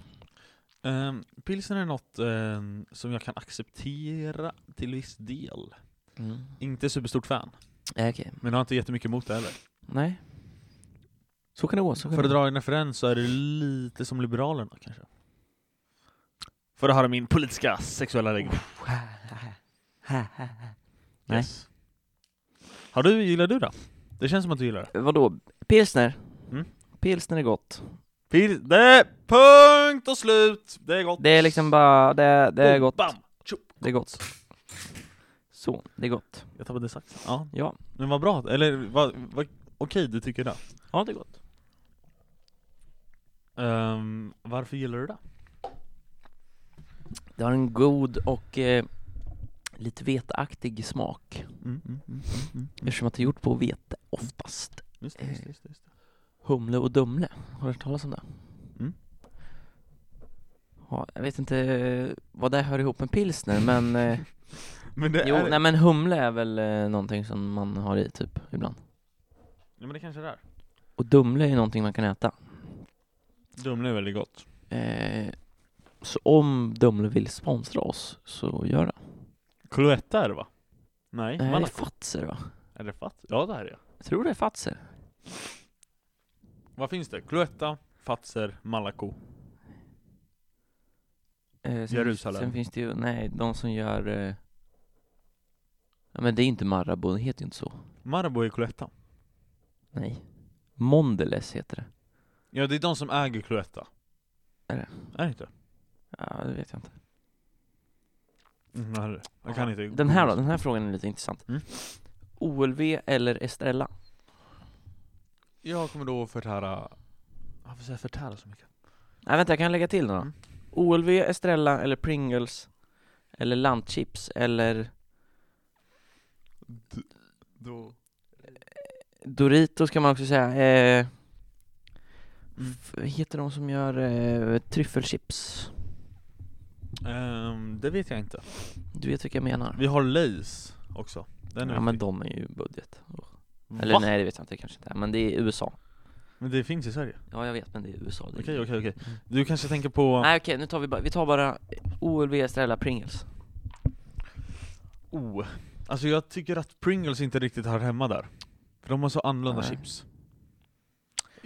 S2: Um, pilsen är något ehm, som jag kan acceptera till viss del.
S1: Mm.
S2: Inte superstort fan,
S1: Eh, Okej.
S2: men jag har inte jättemycket emot det heller.
S1: Nej. Så kan det gå. Så kan
S2: För
S1: det
S2: att
S1: gå.
S2: dra en referens så är det lite som Liberalerna kanske. För att höra min politiska sexuella läggning.
S1: Nej.
S2: Yes. Har du, gillar du då? Det känns som att du gillar det.
S1: Eh, Vadå? Pilsner?
S2: Mm.
S1: Pilsner är gott.
S2: Pil- det punkt och slut! Det är gott.
S1: Det är liksom bara, det, det är
S2: Boom,
S1: gott.
S2: Bam.
S1: Det är gott. Så, det är gott.
S2: Jag tappade saxen. Ja.
S1: Ja.
S2: Men vad bra, eller vad, vad okej du tycker det.
S1: Ja, det är gott.
S2: Ehm, varför gillar du det?
S1: Det har en god och eh, lite veteaktig smak.
S2: Mm, mm, mm, mm, mm.
S1: Eftersom att det är gjort på vete oftast.
S2: Just det, just det, just det, just det.
S1: Humle och Dumle, har du hört talas om det?
S2: Mm.
S1: Ja, jag vet inte eh, vad det hör ihop med pilsner men eh,
S2: Men det
S1: Jo,
S2: är...
S1: nej men humle är väl eh, någonting som man har i typ ibland
S2: Ja, men det kanske det är.
S1: Och Dumle är ju någonting man kan äta
S2: Dumle är väldigt gott.
S1: eh, Så om Dumle vill sponsra oss så gör det
S2: Cloetta är det va? Nej,
S1: Nej, det är
S2: Malaco.
S1: Fatser va?
S2: Är det fatt? Ja, det här är det.
S1: Jag tror det är Fatser
S2: Vad finns det? Cloetta, Fatser, Malaco.
S1: eh, sen,
S2: Jerusalem.
S1: Sen finns det ju, nej, de som gör eh, Ja men det är inte Marabou, det heter ju inte så
S2: Marabou är Cloetta.
S1: Nej Mondeles heter det
S2: Ja, det är de som äger Cloetta.
S1: Är det?
S2: Är det inte?
S1: Ja, det vet jag inte
S2: Mm, det här är det. Jag kan inte.
S1: Den här då, den här frågan är lite intressant
S2: Mm.
S1: OLV eller Estrella?
S2: Jag kommer då förtära... Varför säger jag förtära så mycket?
S1: Nej vänta, jag kan lägga till några.
S2: Mm.
S1: OLV, Estrella eller Pringles eller Lantchips eller
S2: Då...
S1: Doritos kan man också säga. Eh,
S2: Mm.
S1: f- heter de som gör eh, tryffelchips?
S2: Ehm, det vet jag inte.
S1: Du vet vilka jag menar?
S2: Vi har Lays också. Den är
S1: Ja men
S2: viktig.
S1: de är ju budget.
S2: Va?
S1: Eller nej det vet jag inte, kanske inte är. Men det är USA.
S2: Men det finns i Sverige.
S1: Ja jag vet men det är USA. det är-
S2: Okej, okej, okej. Du kanske tänker på...
S1: Nej okej, nu tar vi bara, vi tar bara OLV, Estrella, Pringles.
S2: Oh. Alltså jag tycker att Pringles inte riktigt hör hemma där. För de har så annorlunda
S1: Nej.
S2: chips.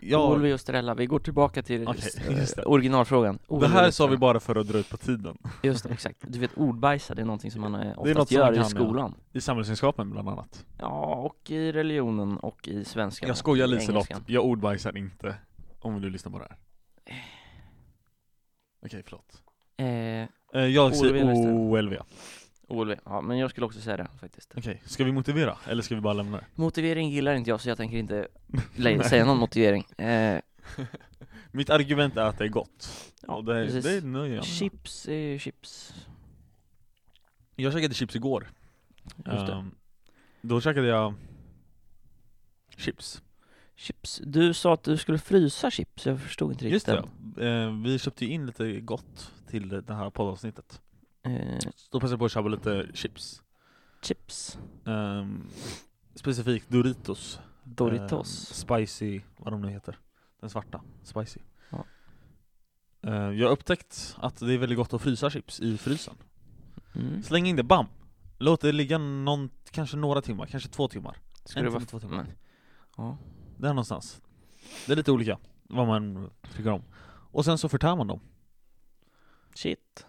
S2: Ja,
S1: OLV och Estrella, vi går tillbaka till
S2: Okej,
S1: eh,
S2: just det.
S1: originalfrågan.
S2: det
S1: OLV
S2: här
S1: och
S2: sa vi
S1: Estrella.
S2: bara för att dra ut på tiden.
S1: Just det, exakt. Du vet ordbajsa, det är någonting som man eh,
S2: något
S1: oftast
S2: som man
S1: gör
S2: kan,
S1: i
S2: ja.
S1: skolan.
S2: I samhällskunskapen bland annat.
S1: Ja, och i religionen och i svenskan.
S2: Jag skojar
S1: och i
S2: Liselott,
S1: engelskan.
S2: jag ordbajsar inte. Om du lyssnar på det här. Okej, förlåt.
S1: Eh,
S2: Eh, Jag säger
S1: OLV, just det.
S2: OLV. Okej,
S1: OLV. Ja, men jag skulle också säga det faktiskt.
S2: ska vi motivera? Eller ska vi bara lämna det?
S1: Motivering gillar inte jag, så jag tänker inte lä- säga någon motivering. Eh,
S2: Mitt argument är att det är gott.
S1: Ja,
S2: Och det, är-
S1: precis.
S2: det nöjer jag mig med.
S1: chips är ju chips.
S2: Jag käkade chips igår.
S1: Just det.
S2: Ehm, Då käkade jag chips.
S1: Chips. Du sa att du skulle frysa chips, jag förstod inte riktigt.
S2: Just det.
S1: den.
S2: Ehm, Vi köpte ju in lite gott till det här poddavsnittet.
S1: Eh,
S2: Så då passade jag på att tjabba lite chips.
S1: chips.
S2: Ehm, Specifikt Doritos.
S1: Doritos.
S2: Ehm, spicy, vad de nu heter. Den svarta. Spicy.
S1: Ja.
S2: Ehm, jag har upptäckt att det är väldigt gott att frysa chips i frysen.
S1: Mm.
S2: Släng in det, bam! Låt det ligga någon, kanske några timmar, kanske två timmar.
S1: Ska
S2: en
S1: det
S2: timme,
S1: vara...
S2: två timmar.
S1: Men, ja.
S2: Där någonstans. Det är lite olika vad man tycker om. Och sen så förtär man dem.
S1: Shit.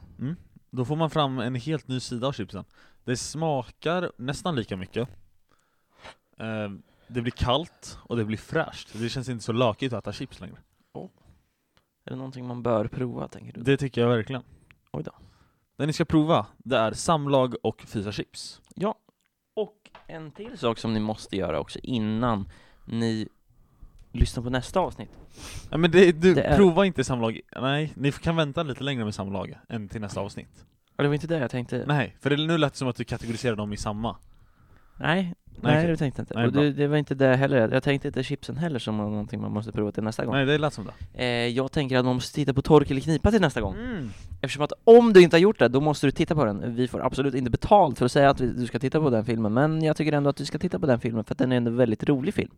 S2: Då får man fram en helt ny sida av chipsen. Det smakar nästan lika mycket. Ehm, Det blir kallt och det blir fräscht. Det känns inte så lökigt att äta chips längre.
S1: Är det någonting man bör prova, tänker du?
S2: Det tycker jag verkligen.
S1: Oj då.
S2: Det ni ska prova, det är samlag och fysa chips.
S1: Ja, och en till sak som ni måste göra också innan ni lyssnar på nästa avsnitt.
S2: Nej men det, du,
S1: Det är-
S2: prova inte samlag, nej, ni kan vänta lite längre med samlag än till nästa avsnitt.
S1: Ja, det var inte det jag tänkte. Nej,
S2: Nej, för det, nu lät det som att du kategoriserar dem i samma.
S1: nej,
S2: okej.
S1: det tänkte jag inte.
S2: Nej,
S1: och
S2: bra.
S1: du, det var inte det heller. Jag tänkte inte chipsen heller som var någonting man måste prova till nästa gång.
S2: Nej, det lät som det.
S1: Eh, jag tänker att man måste titta på Tork eller knipa till nästa gång.
S2: Mm.
S1: Eftersom att om du inte har gjort det, då måste du titta på den. Vi får absolut inte betalt för att säga att vi, du ska titta på den filmen, men jag tycker ändå att du ska titta på den filmen för att den är en väldigt rolig film.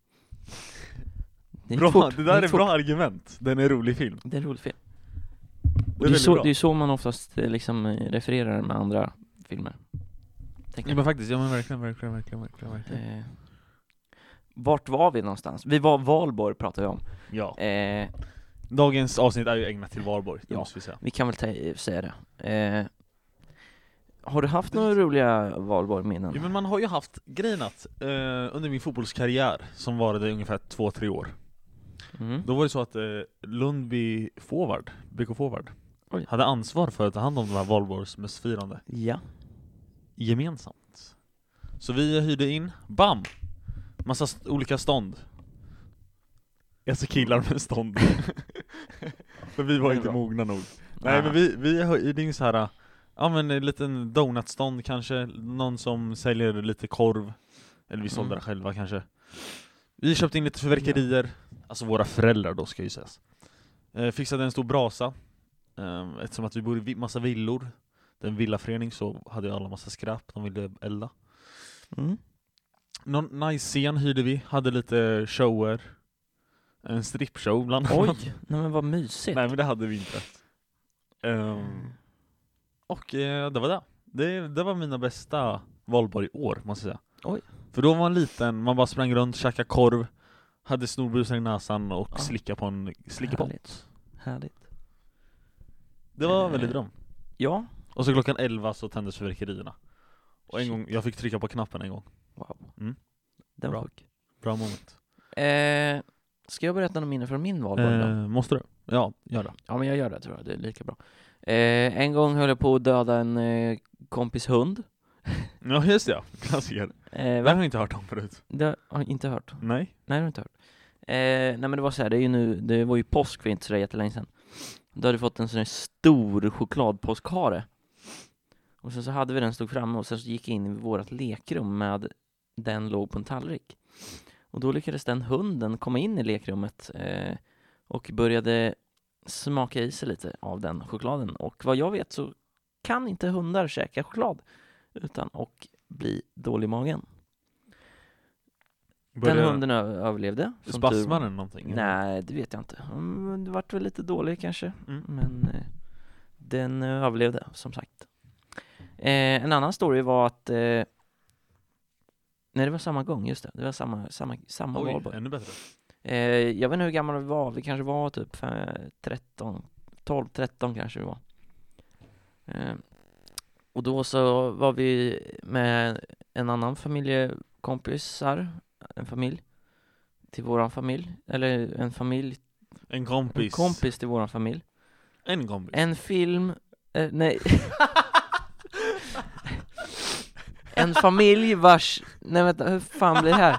S1: Det gick
S2: Bra,
S1: fort.
S2: det där
S1: gick
S2: är
S1: fort.
S2: bra argument. Den är rolig film.
S1: Det är en rolig film.
S2: Det
S1: Och
S2: är
S1: det, är
S2: väldigt
S1: så,
S2: bra.
S1: det är så man oftast eh, liksom eh, refererar med andra filmer. Tänker
S2: Ja
S1: jag.
S2: men faktiskt, ja men verkligen, verkligen, verkligen, verkligen. verkligen.
S1: Eh, vart var vi någonstans? Vi var Valborg pratade vi om.
S2: Ja.
S1: Eh,
S2: Dagens avsnitt är ju ägnat till Valborg, det
S1: Ja.
S2: måste vi säga.
S1: Vi kan väl ta, säga det. Eh, har du haft några roliga Valborg-minnen?
S2: Jo, men man har ju haft grejen att eh, under min fotbollskarriär, som varade i ungefär två, tre år,
S1: Mm.
S2: Då var det så att eh, Lundby forward, BK forward,
S1: Oj.
S2: hade ansvar för att ta hand om de här valborgsmässfirande
S1: Ja.
S2: gemensamt. Så vi hyrde in, bam! Massa st- olika stånd. Alltså killar med stånd. För vi var
S1: Det är
S2: inte
S1: bra.
S2: mogna nog. Nej
S1: Ah.
S2: men vi, vi hyrde in så här, eh, ja men en liten donutstånd kanske, någon som säljer lite korv. Eller vi sålde
S1: Mm.
S2: det själva kanske. Vi köpte in lite fyrverkerier, alltså våra föräldrar då ska ju sägas. Eh, fixade en stor brasa, eh, eftersom att vi bor i vi- massa villor. Den villaförening så hade ju alla massa skräp de ville elda.
S1: Mm.
S2: Någon nice scen hyrde vi, hade lite shower. En strippshow bland annat.
S1: Oj, nej men vad mysigt.
S2: Nej men det hade vi inte. Ehm, och eh, det var det. det. Det var mina bästa valborg i år, måste jag säga.
S1: Oj.
S2: För då var man liten, man bara sprang runt, käkade korv, hade snorbrusar i näsan och
S1: Ja.
S2: slickade på en slickepott.
S1: Härligt. Härligt.
S2: Det var
S1: Eh.
S2: väldigt bra.
S1: Ja.
S2: Och så klockan 11 så tändes fyrverkerierna. Och en
S1: Shit.
S2: gång, jag fick trycka på knappen en gång.
S1: Wow.
S2: Mm.
S1: Den
S2: Bra.
S1: var sjuk.
S2: Bra moment.
S1: Eh, ska jag berätta något minne från min Valborg då?
S2: Eh, måste du? Ja, gör det.
S1: Ja men jag gör det tror jag, det är lika bra. Eh, en gång höll jag på att döda en eh, kompis hund.
S2: Ja just det, ja. klassiker.
S1: Eh,
S2: Det har
S1: va?
S2: jag inte hört om förut.
S1: Det har jag inte hört.
S2: Nej.
S1: Nej, det har jag inte hört. Eh, nej men det var så här, det, är ju nu, det var ju påsk för inte så där jättelänge sedan. Då hade vi fått en sån här stor chokladpåskhare. Och sen så hade vi den stod framme och sen så gick jag in i vårt lekrum med den låg på en tallrik. Och då lyckades den hunden komma in i lekrummet eh, och började smaka i sig lite av den chokladen. Och vad jag vet så kan inte hundar käka choklad utan att bli dålig i magen. Den hunden ö- överlevde. som tur var.
S2: Spasmar den någonting?
S1: Nej, det vet jag inte. Mm, Det vart väl lite dålig kanske,
S2: Mm.
S1: men eh, den eh, överlevde som sagt. Eh, en annan story var att eh, Nej, det var samma gång, just det. Det var samma, samma, samma
S2: Oj,
S1: valborg.
S2: ännu bättre.
S1: Eh, jag vet inte hur gamla vi var, vi kanske var typ fe- 13, 12, 13 kanske vi var. Eh, och då så var vi med en annan familjekompisar, en familj, till våran familj, eller en familj,
S2: En
S1: en
S2: kompis.
S1: kompis till våran familj.
S2: En kompis.
S1: En film, eh, nej. en familj vars, nej vänta, hur fan blir det här?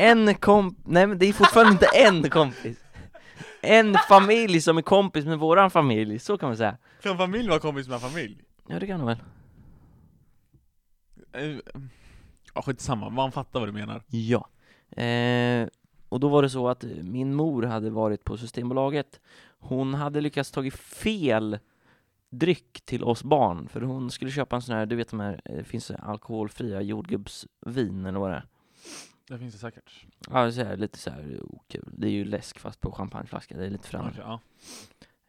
S1: En komp, nej men det är fortfarande inte en kompis. En familj som är kompis med våran familj, så kan man säga.
S2: Kan familj vara kompis med familj?
S1: Ja det kan du väl?
S2: Eh, Ja, skitsamma. Man fattar vad du menar.
S1: Ja. Eh, och då var det så att min mor hade varit på Systembolaget. Hon hade lyckats tagit fel dryck till oss barn, för hon skulle köpa en sån här, du vet de här, eh, finns det alkoholfria jordgubbsvin eller vad det är?
S2: Det finns det säkert.
S1: Ja, så här, lite så här okul. Det är ju läsk fast på champagneflaska, det är lite främmande.
S2: Okej,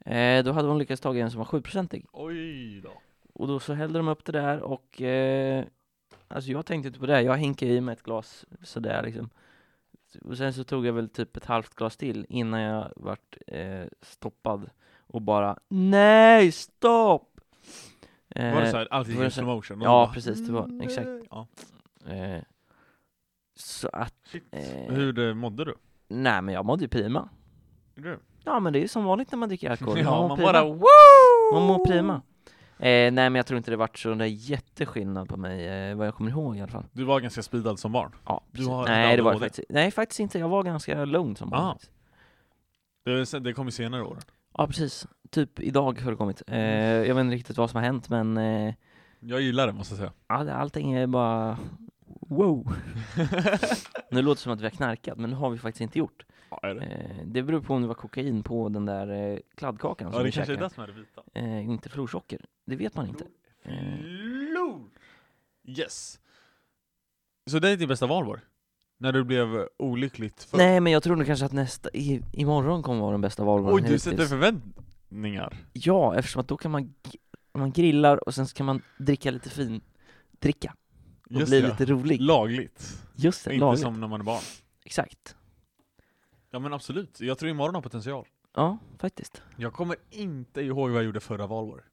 S2: ja.
S1: Eh, då hade hon lyckats ta en som var 7-procentig.
S2: Oj då.
S1: Och då så hällde de upp det där och eh, Alltså jag tänkte inte på det, jag hinkade i mig ett glas sådär liksom Och sen så tog jag väl typ ett halvt glas till innan jag vart eh, stoppad Och bara NEJ STOPP! Eh,
S2: var det såhär, allt gick
S1: var
S2: i
S1: det så-
S2: slow motion?
S1: ja,
S2: Och bara,
S1: precis, det var- exakt.
S2: nej. Ja.
S1: eh, Så att,
S2: Shit.
S1: Eh.
S2: Hur eh, mådde du?
S1: nej men jag mådde ju prima
S2: Gjorde du?
S1: Ja men det är ju som vanligt när man dricker alkohol,
S2: Ja,
S1: mår
S2: man
S1: prima.
S2: bara woo!
S1: Man mår prima eh, Nej men jag tror inte det vart sån där jätteskillnad på mig, eh, vad jag kommer ihåg i alla fall
S2: Du var ganska speedad som barn.
S1: Ja,
S2: Du
S1: precis.
S2: har-
S1: nej, det var det
S2: ADHD.
S1: faktiskt, nej faktiskt inte, jag var ganska lugn som barn
S2: Ah.
S1: faktiskt.
S2: Det, sen- det kom ju senare i år.
S1: Ja precis, typ idag har det kommit. Eh,
S2: Mm.
S1: jag vet inte riktigt vad som har hänt men eh,
S2: Jag gillar det måste jag säga.
S1: all- allting är bara wow. nu låter det som att vi har knarkat men det har vi faktiskt inte gjort.
S2: Ja, är det?
S1: Eh, det beror på om det var kokain på den där eh, kladdkakan
S2: Ja,
S1: som
S2: det
S1: vi
S2: kanske är
S1: käkade.
S2: det som är det vita.
S1: Eh, inte florsocker, det vet man inte. Eh,
S2: Lord. Yes. Så det är din bästa valborg? När du blev olyckligt för...
S1: nej men jag tror nog kanske att nästa, i, imorgon kommer vara den bästa
S2: Oj,
S1: valborgen
S2: du sätter förväntningar.
S1: Ja, eftersom att då kan man, g- man grillar och sen så kan man dricka lite fin dricka och
S2: Just
S1: bli
S2: det.
S1: lite rolig.
S2: Lagligt.
S1: Just det,
S2: Inte
S1: lagligt.
S2: som när man är barn.
S1: Exakt.
S2: Ja men absolut, jag tror imorgon har potential.
S1: Ja, faktiskt.
S2: Jag kommer inte ihåg vad jag gjorde förra valår.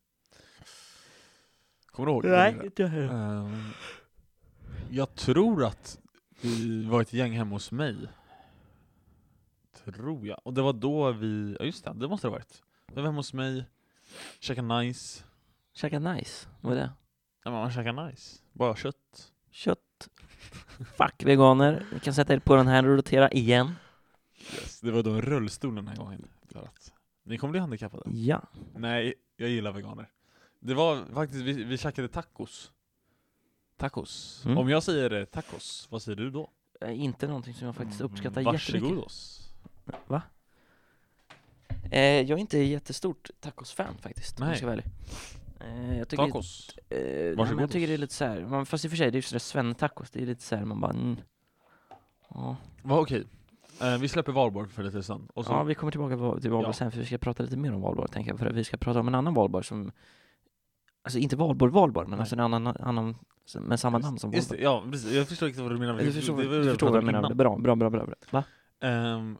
S2: Kommer du ihåg? vad du gjorde?
S1: inte jag
S2: Ehm, jag tror att vi var ett gäng hemma hos mig. Tror jag. Och det var då vi, ja just det, det måste det ha varit. Vi var hemma hos mig, käkade nice.
S1: Käka nice, vad är det?
S2: Ja men man käkar nice. Bara kött.
S1: Kött. Fuck veganer, ni kan sätta er på den här och rotera igen.
S2: Yes. Det var då en rullstol den här gången. För att ni kommer bli handikappade.
S1: Ja.
S2: Nej, jag gillar veganer. Det var faktiskt, vi, vi käkade tacos. Tacos.
S1: Mm.
S2: Om jag säger eh, tacos, vad säger du då?
S1: Eh, Inte någonting som jag faktiskt uppskattar
S2: Mm,
S1: jättemycket.
S2: Varsågodos.
S1: Va? Eh, jag är inte jättestort tacos-fan faktiskt, om
S2: Nej.
S1: jag ska vara ärlig. Eh, jag tycker,
S2: Tacos.
S1: Eh, nej, men jag
S2: Varsågodos.
S1: tycker det är lite såhär, man- fast i och för sig, det är ju sådär svennetacos, det är lite såhär, man bara mm. ja.
S2: Va, okej. Eh, vi släpper valborg för lite sen. Och så,
S1: ja, vi kommer tillbaka va- till valborg
S2: Ja.
S1: sen, för vi ska prata lite mer om valborg, tänker jag, för vi ska prata om en annan valborg som Alltså inte valborg, valborg, men
S2: Nej.
S1: alltså en annan, annan med samma namn som
S2: just
S1: valborg.
S2: det, ja, precis. Jag förstår inte vad du menar.
S1: Du förstår,
S2: det, var
S1: du
S2: det
S1: förstår vad jag
S2: pratade om
S1: menar? Bra, bra, bra, bra, bra. Va?
S2: innan. Ehm,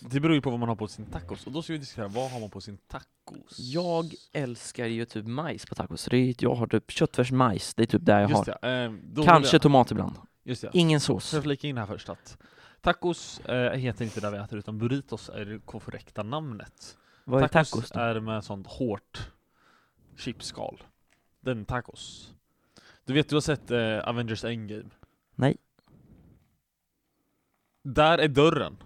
S2: det beror ju på vad man har på sin tacos. Och då ska vi diskutera, vad har man på sin tacos?
S1: Jag älskar ju typ majs på tacos, det är, ju- jag har typ köttfärsmajs, det är typ där jag
S2: Just
S1: har.
S2: det, ehm, då vill
S1: Kanske
S2: jag,
S1: tomat ibland.
S2: just det.
S1: Ingen
S2: Så
S1: sås.
S2: jag flika in här först att tacos eh, heter inte det vi äter utan burritos är det korrekta namnet.
S1: Vad är tacos då?
S2: är med sånt hårt chipskal. Den tacos. Du vet, du har sett eh, Avengers Endgame?
S1: Nej.
S2: Där är dörren.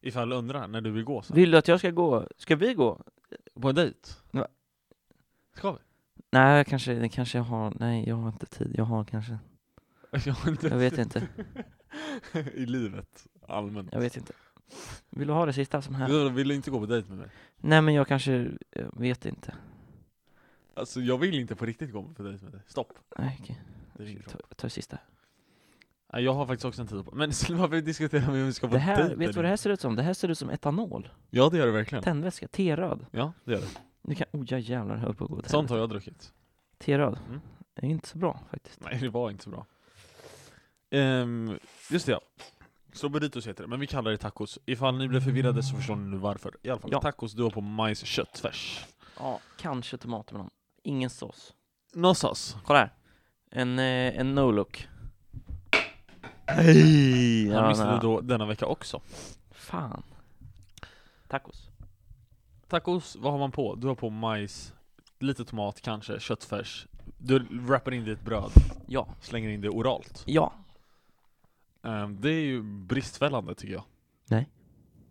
S2: Ifall du undrar när du vill gå sen.
S1: Vill du att jag ska gå? Ska vi gå?
S2: På en dejt?
S1: Va?
S2: Ska vi?
S1: Nej, jag kanske, det kanske jag har, nej jag har inte tid, jag har kanske,
S2: Jag, har inte
S1: jag vet inte,
S2: I livet, allmänt.
S1: jag vet inte. Vill du ha det sista som här?
S2: Du vill inte gå på dejt med mig?
S1: Nej men jag kanske, jag vet inte.
S2: Alltså jag vill inte på riktigt gå på dejt med dig. Stopp.
S1: Nej okej,
S2: Det är min
S1: ta, ta Mm. det sista.
S2: Nej, Jag har faktiskt också en tid på Men varför diskuterar vi om vi ska på
S1: Det här,
S2: dejt
S1: vet du vad
S2: eller
S1: det här
S2: inte?
S1: ser ut som? Det här ser ut som etanol,
S2: Ja det gör det verkligen.
S1: tändvätska, teröd.
S2: Ja det gör det.
S1: Du kan, oh jag jävlar höll på att gå åt
S2: Sånt
S1: helvete.
S2: har jag druckit.
S1: Teröd,
S2: Mm.
S1: det är inte så bra faktiskt.
S2: Nej det var inte så bra. Ehm, just det ja. Så burritos heter det, men vi kallar det tacos. Ifall ni blev förvirrade så förstår ni nu varför. I alla fall,
S1: Ja.
S2: tacos du har på majs köttfärs.
S1: Ja, kanske tomat med någon. Ingen sås.
S2: Någonstans.
S1: Kolla här. En, eh, en no-look. Hej!
S2: Han missade då denna vecka också.
S1: Fan. Tacos.
S2: Tacos, vad har man på? Du har på majs, lite tomat kanske, köttfärs. Du wrappar in det i ett bröd,
S1: Ja.
S2: slänger in det oralt.
S1: Ja.
S2: Ehm, det är ju bristfällande tycker jag.
S1: Nej.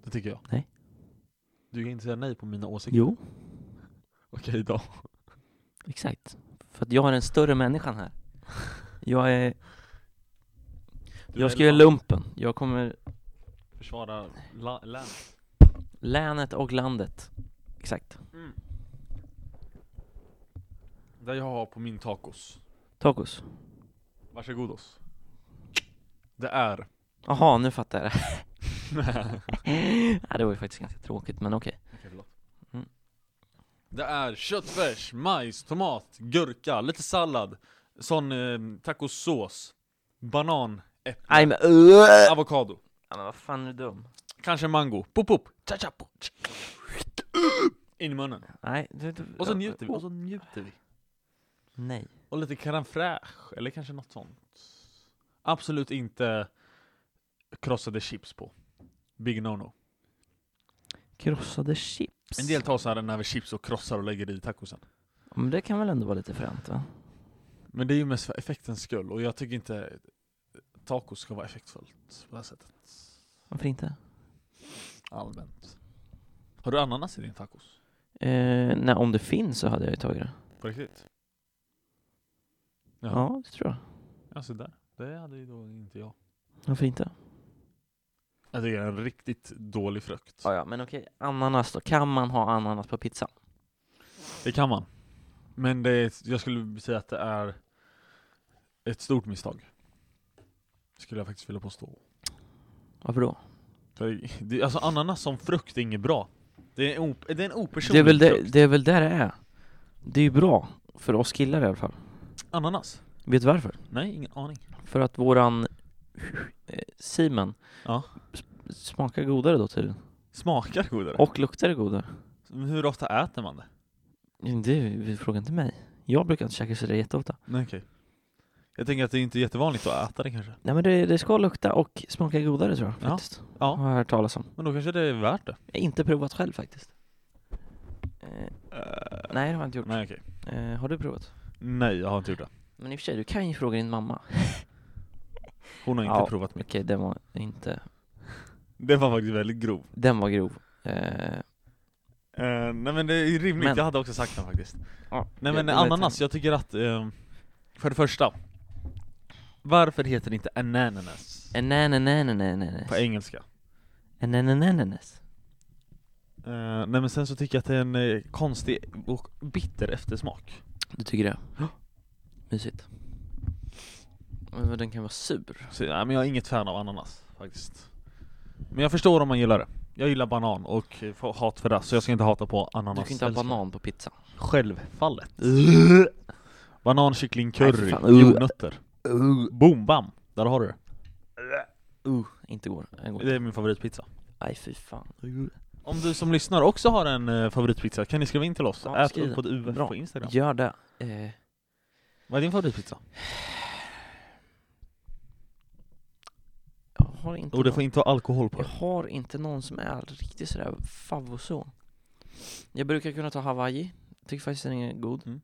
S2: Det tycker jag.
S1: Nej.
S2: Du kan inte säga nej på mina åsikter.
S1: Jo.
S2: Okej då.
S1: Exakt. För att jag är den större människan här. Jag är...
S2: Du
S1: Jag
S2: är
S1: ska göra
S2: la-
S1: lumpen. Jag kommer...
S2: Försvara la- län.
S1: Länet och landet. Exakt.
S2: Där jag har på min tacos.
S1: Tacos.
S2: Varsågodos. Det är.
S1: Jaha, nu fattar jag det. Nej, det var ju faktiskt ganska tråkigt, men okej. Mm.
S2: Det är köttfärs, majs, tomat, gurka, lite sallad, sån eh, tacosås, banan, äpple,
S1: Nej men... Uh!
S2: avokado.
S1: Ja, men vad fan är du dum?
S2: Kanske mango. Pop, pop. Cha, cha, pop. In i munnen.
S1: Nej, du, du,
S2: Och så njuter vi.
S1: Oh,
S2: Och så njuter vi.
S1: Nej.
S2: Och lite crème fraîche, eller kanske något sånt. Absolut inte krossade chips på. Big no-no.
S1: Krossade chips?
S2: En del tar så här den här med chips och krossar och lägger i tacosen.
S1: Ja, Men det kan väl ändå vara lite fränt va?
S2: Men det är ju mest för effektens skull, och jag tycker inte tacos ska vara effektfullt på det här sättet.
S1: Varför inte?
S2: Allmänt. Har du ananas i din tacos?
S1: Eh, nej, om det finns så hade jag ju tagit det.
S2: På riktigt?
S1: Ja,
S2: Ja.
S1: det tror jag.
S2: Ja, så där. Det hade ju då inte jag.
S1: Varför inte?
S2: Jag tycker det är en riktigt dålig frukt.
S1: Ja, ja, men okej. Ananas då. Kan man ha ananas på pizza?
S2: Det kan man. Men det är, jag skulle säga att det är ett stort misstag. Skulle jag faktiskt vilja påstå.
S1: Varför då?
S2: För Det, alltså ananas som frukt är inget bra. Det är en, op, det är en opersonlig
S1: Det är, väl det,
S2: frukt.
S1: det är väl där det är. Det är ju bra. För oss killar i alla fall.
S2: Ananas?
S1: Vet du varför?
S2: Nej, ingen aning.
S1: För att våran eh, semen
S2: Ja.
S1: s- smakar godare då tydligen.
S2: Smakar det godare?
S1: Och luktar det godare?
S2: Men Hur ofta äter man det?
S1: Mm, Du, fråga inte mig. Jag brukar inte käka sådär jätteofta.
S2: Nej, okej. Jag tänker att det är inte är jättevanligt att äta det kanske.
S1: Nej men det, det ska lukta och smaka godare tror jag
S2: Ja.
S1: faktiskt.
S2: Ja.
S1: Har jag hört talas om.
S2: Men då kanske det är värt det?
S1: Jag har inte provat själv faktiskt. Eh, nej det har jag inte gjort.
S2: Nej, okej.
S1: Eh, har du provat?
S2: Nej, jag har inte gjort det.
S1: Men i och för sig, du kan ju fråga din mamma.
S2: Hon har inte
S1: Ja.
S2: provat mig.
S1: Okej, den var inte...
S2: Det var faktiskt väldigt grov.
S1: Den var grov. Eh,
S2: Eh, nej men det är ju rimligt,
S1: Men-
S2: jag hade också sagt den faktiskt.
S1: ja,
S2: Nej
S1: jag-
S2: men
S1: jag vet
S2: ananas, jag tycker att, eh, för det första, varför heter det inte ananas
S1: inte. Ananananananas.
S2: på engelska?
S1: Eh, Anananananas.
S2: Eh, nej men sen så tycker jag att det är en eh, konstig och bitter eftersmak.
S1: Du tycker det?
S2: Ja.
S1: Mysigt. Men den kan vara sur.
S2: Så, nej, men jag är inget fan av ananas faktiskt. Men jag förstår om man gillar det. Jag gillar banan och eh, får hat för det, så jag ska inte hata på ananas.
S1: Du kan inte ha
S2: älskar.
S1: banan på pizza.
S2: Självfallet. Banan, kyckling,
S1: Nej,
S2: curry,
S1: för fan. Uh.
S2: jordnötter. Boom, bam! Där har du det.
S1: Uh, inte går. Den går.
S2: Det är min favoritpizza.
S1: Aj fy fan.
S2: Om du som lyssnar också har en eh, favoritpizza, kan ni skriva in till oss?
S1: Ja,
S2: Ät
S1: skriv
S2: upp på ett UF
S1: Bra.
S2: på Instagram.
S1: Gör det. Eh,
S2: Vad är din favoritpizza?
S1: jag har inte
S2: Och Oh, det
S1: någon-
S2: får inte vara alkohol på
S1: Jag
S2: det.
S1: har inte någon som är riktigt sådär favvo så. Jag brukar kunna ta Hawaii, tycker faktiskt den är god.
S2: Mm.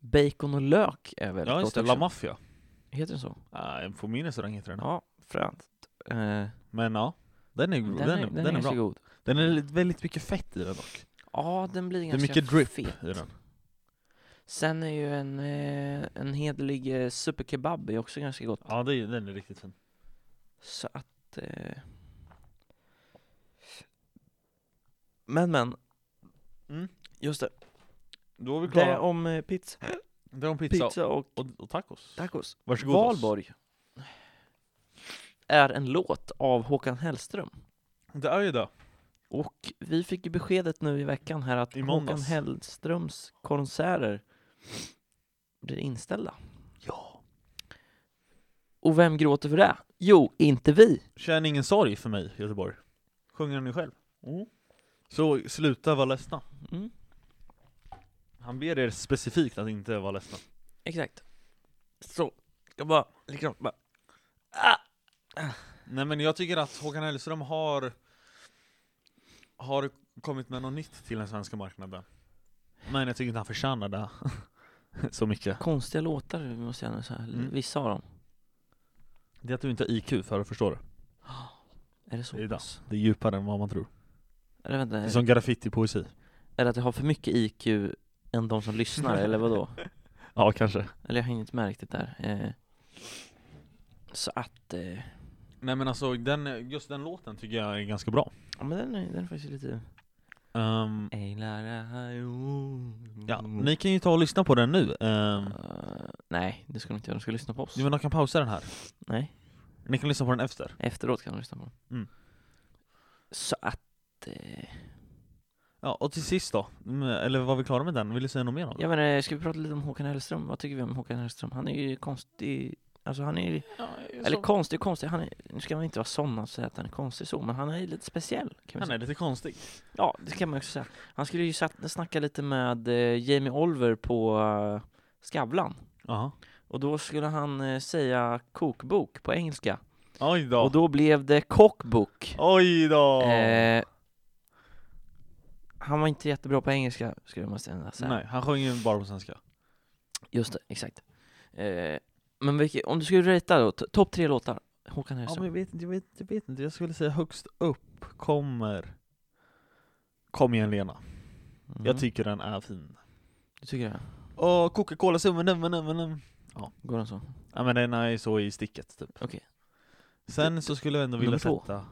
S1: Bacon och lök är väldigt
S2: Ja
S1: gott
S2: just det,
S1: också.
S2: La Mafia.
S1: Heter den så?
S2: Nej, på min restaurang heter den.
S1: Ja, fränt. Eh, den,
S2: Men ja, den är, den,
S1: är,
S2: är, den, är,
S1: ganska
S2: bra.
S1: god.
S2: Den är lite- väldigt mycket fett i den dock.
S1: Ja, den blir
S2: Det är
S1: ganska
S2: mycket drip
S1: fet.
S2: i den.
S1: Sen är ju en, eh, en hederlig eh, superkebab är också ganska gott.
S2: Ja, det är, den är riktigt fin.
S1: Så att... Eh... Men men.
S2: Mm.
S1: Just det.
S2: Då är vi
S1: Det är
S2: klara.
S1: om eh, pizza,
S2: Det är om pizza,
S1: pizza och
S2: Och, och tacos.
S1: tacos.
S2: Varsågod oss.
S1: Valborg är en låt av Håkan Hellström.
S2: Det är ju det.
S1: Och vi fick ju beskedet nu i veckan här att
S2: I
S1: Håkan
S2: måndags.
S1: Hellströms konserter blir inställda.
S2: Ja.
S1: Och vem gråter för det? Jo, inte vi!
S2: Känn ingen sorg för mig, Göteborg. Sjunger ni själv? Så sluta vara ledsna.
S1: Mm,
S2: Han ber er specifikt att inte vara ledsna.
S1: exakt. Så, ska bara liksom bara... Ah!
S2: Nej men jag tycker att Håkan Hellström har Har kommit med något nytt till den svenska marknaden Men jag tycker inte han förtjänar det Så mycket
S1: Konstiga låtar måste jag nog säga,
S2: Mm.
S1: vissa av dem.
S2: Det är att du inte har IQ för att förstå det
S1: Är det
S2: Det
S1: så
S2: är
S1: pass?
S2: Det är djupare än vad man tror
S1: Eller vänta,
S2: Det
S1: är
S2: är
S1: det,
S2: som graffiti-poesi
S1: är det att jag har för mycket IQ än de som lyssnar, eller vad då?
S2: Ja kanske
S1: Eller jag har inte märkt det där. Eh, så att, eh,
S2: Nej men alltså den, just den låten tycker jag är ganska bra
S1: ja men den är, den är faktiskt lite...
S2: Ehm, Ja,
S1: Ja,
S2: ni kan ju ta och lyssna på den nu um,
S1: Eh, nej, det ska de inte göra. De ska lyssna på oss.
S2: Jo men de kan pausa den här
S1: Nej,
S2: Ni kan lyssna på den efter
S1: efteråt kan de lyssna på den.
S2: Mm.
S1: Så att, eh,
S2: Ja och till sist då, Mm, eller var vi klara med den? Vill du säga något mer om den?
S1: jag menar, ska vi prata lite om Håkan Hellström? Vad tycker vi om Håkan Hellström? Han är ju konstig, alltså han är, eller konstig och konstig, han är, nu ska man inte vara sån och säga att han är konstig så, men han är ju lite speciell kan man
S2: Han
S1: säga.
S2: är lite konstig
S1: Ja, det kan man också säga. Han skulle ju satt, snacka lite med eh, Jamie Oliver på eh, Skavlan.
S2: Jaha
S1: Och då skulle han eh, säga kokbok på engelska.
S2: Oj då!
S1: Och då blev det kockbok.
S2: Oj då!
S1: Eh, han var inte jättebra på engelska, skulle man säga. Så här.
S2: Nej, han sjöng ju bara på svenska.
S1: Just det, exakt. Eh, men vilket, om du skulle ratea då, to- topp tre låtar, Håkan
S2: Ja,
S1: Hellström.
S2: men jag vet, inte, jag, vet, jag vet inte, jag skulle säga högst upp kommer Kom igen Lena,
S1: Mm.
S2: jag tycker den är fin.
S1: Du tycker det?
S2: Åh, Coca-Cola summen, men men
S1: Går den så?
S2: Ja men den är ju så i sticket typ.
S1: Okej.
S2: Sen så skulle jag ändå vilja
S1: Nummer två.
S2: sätta...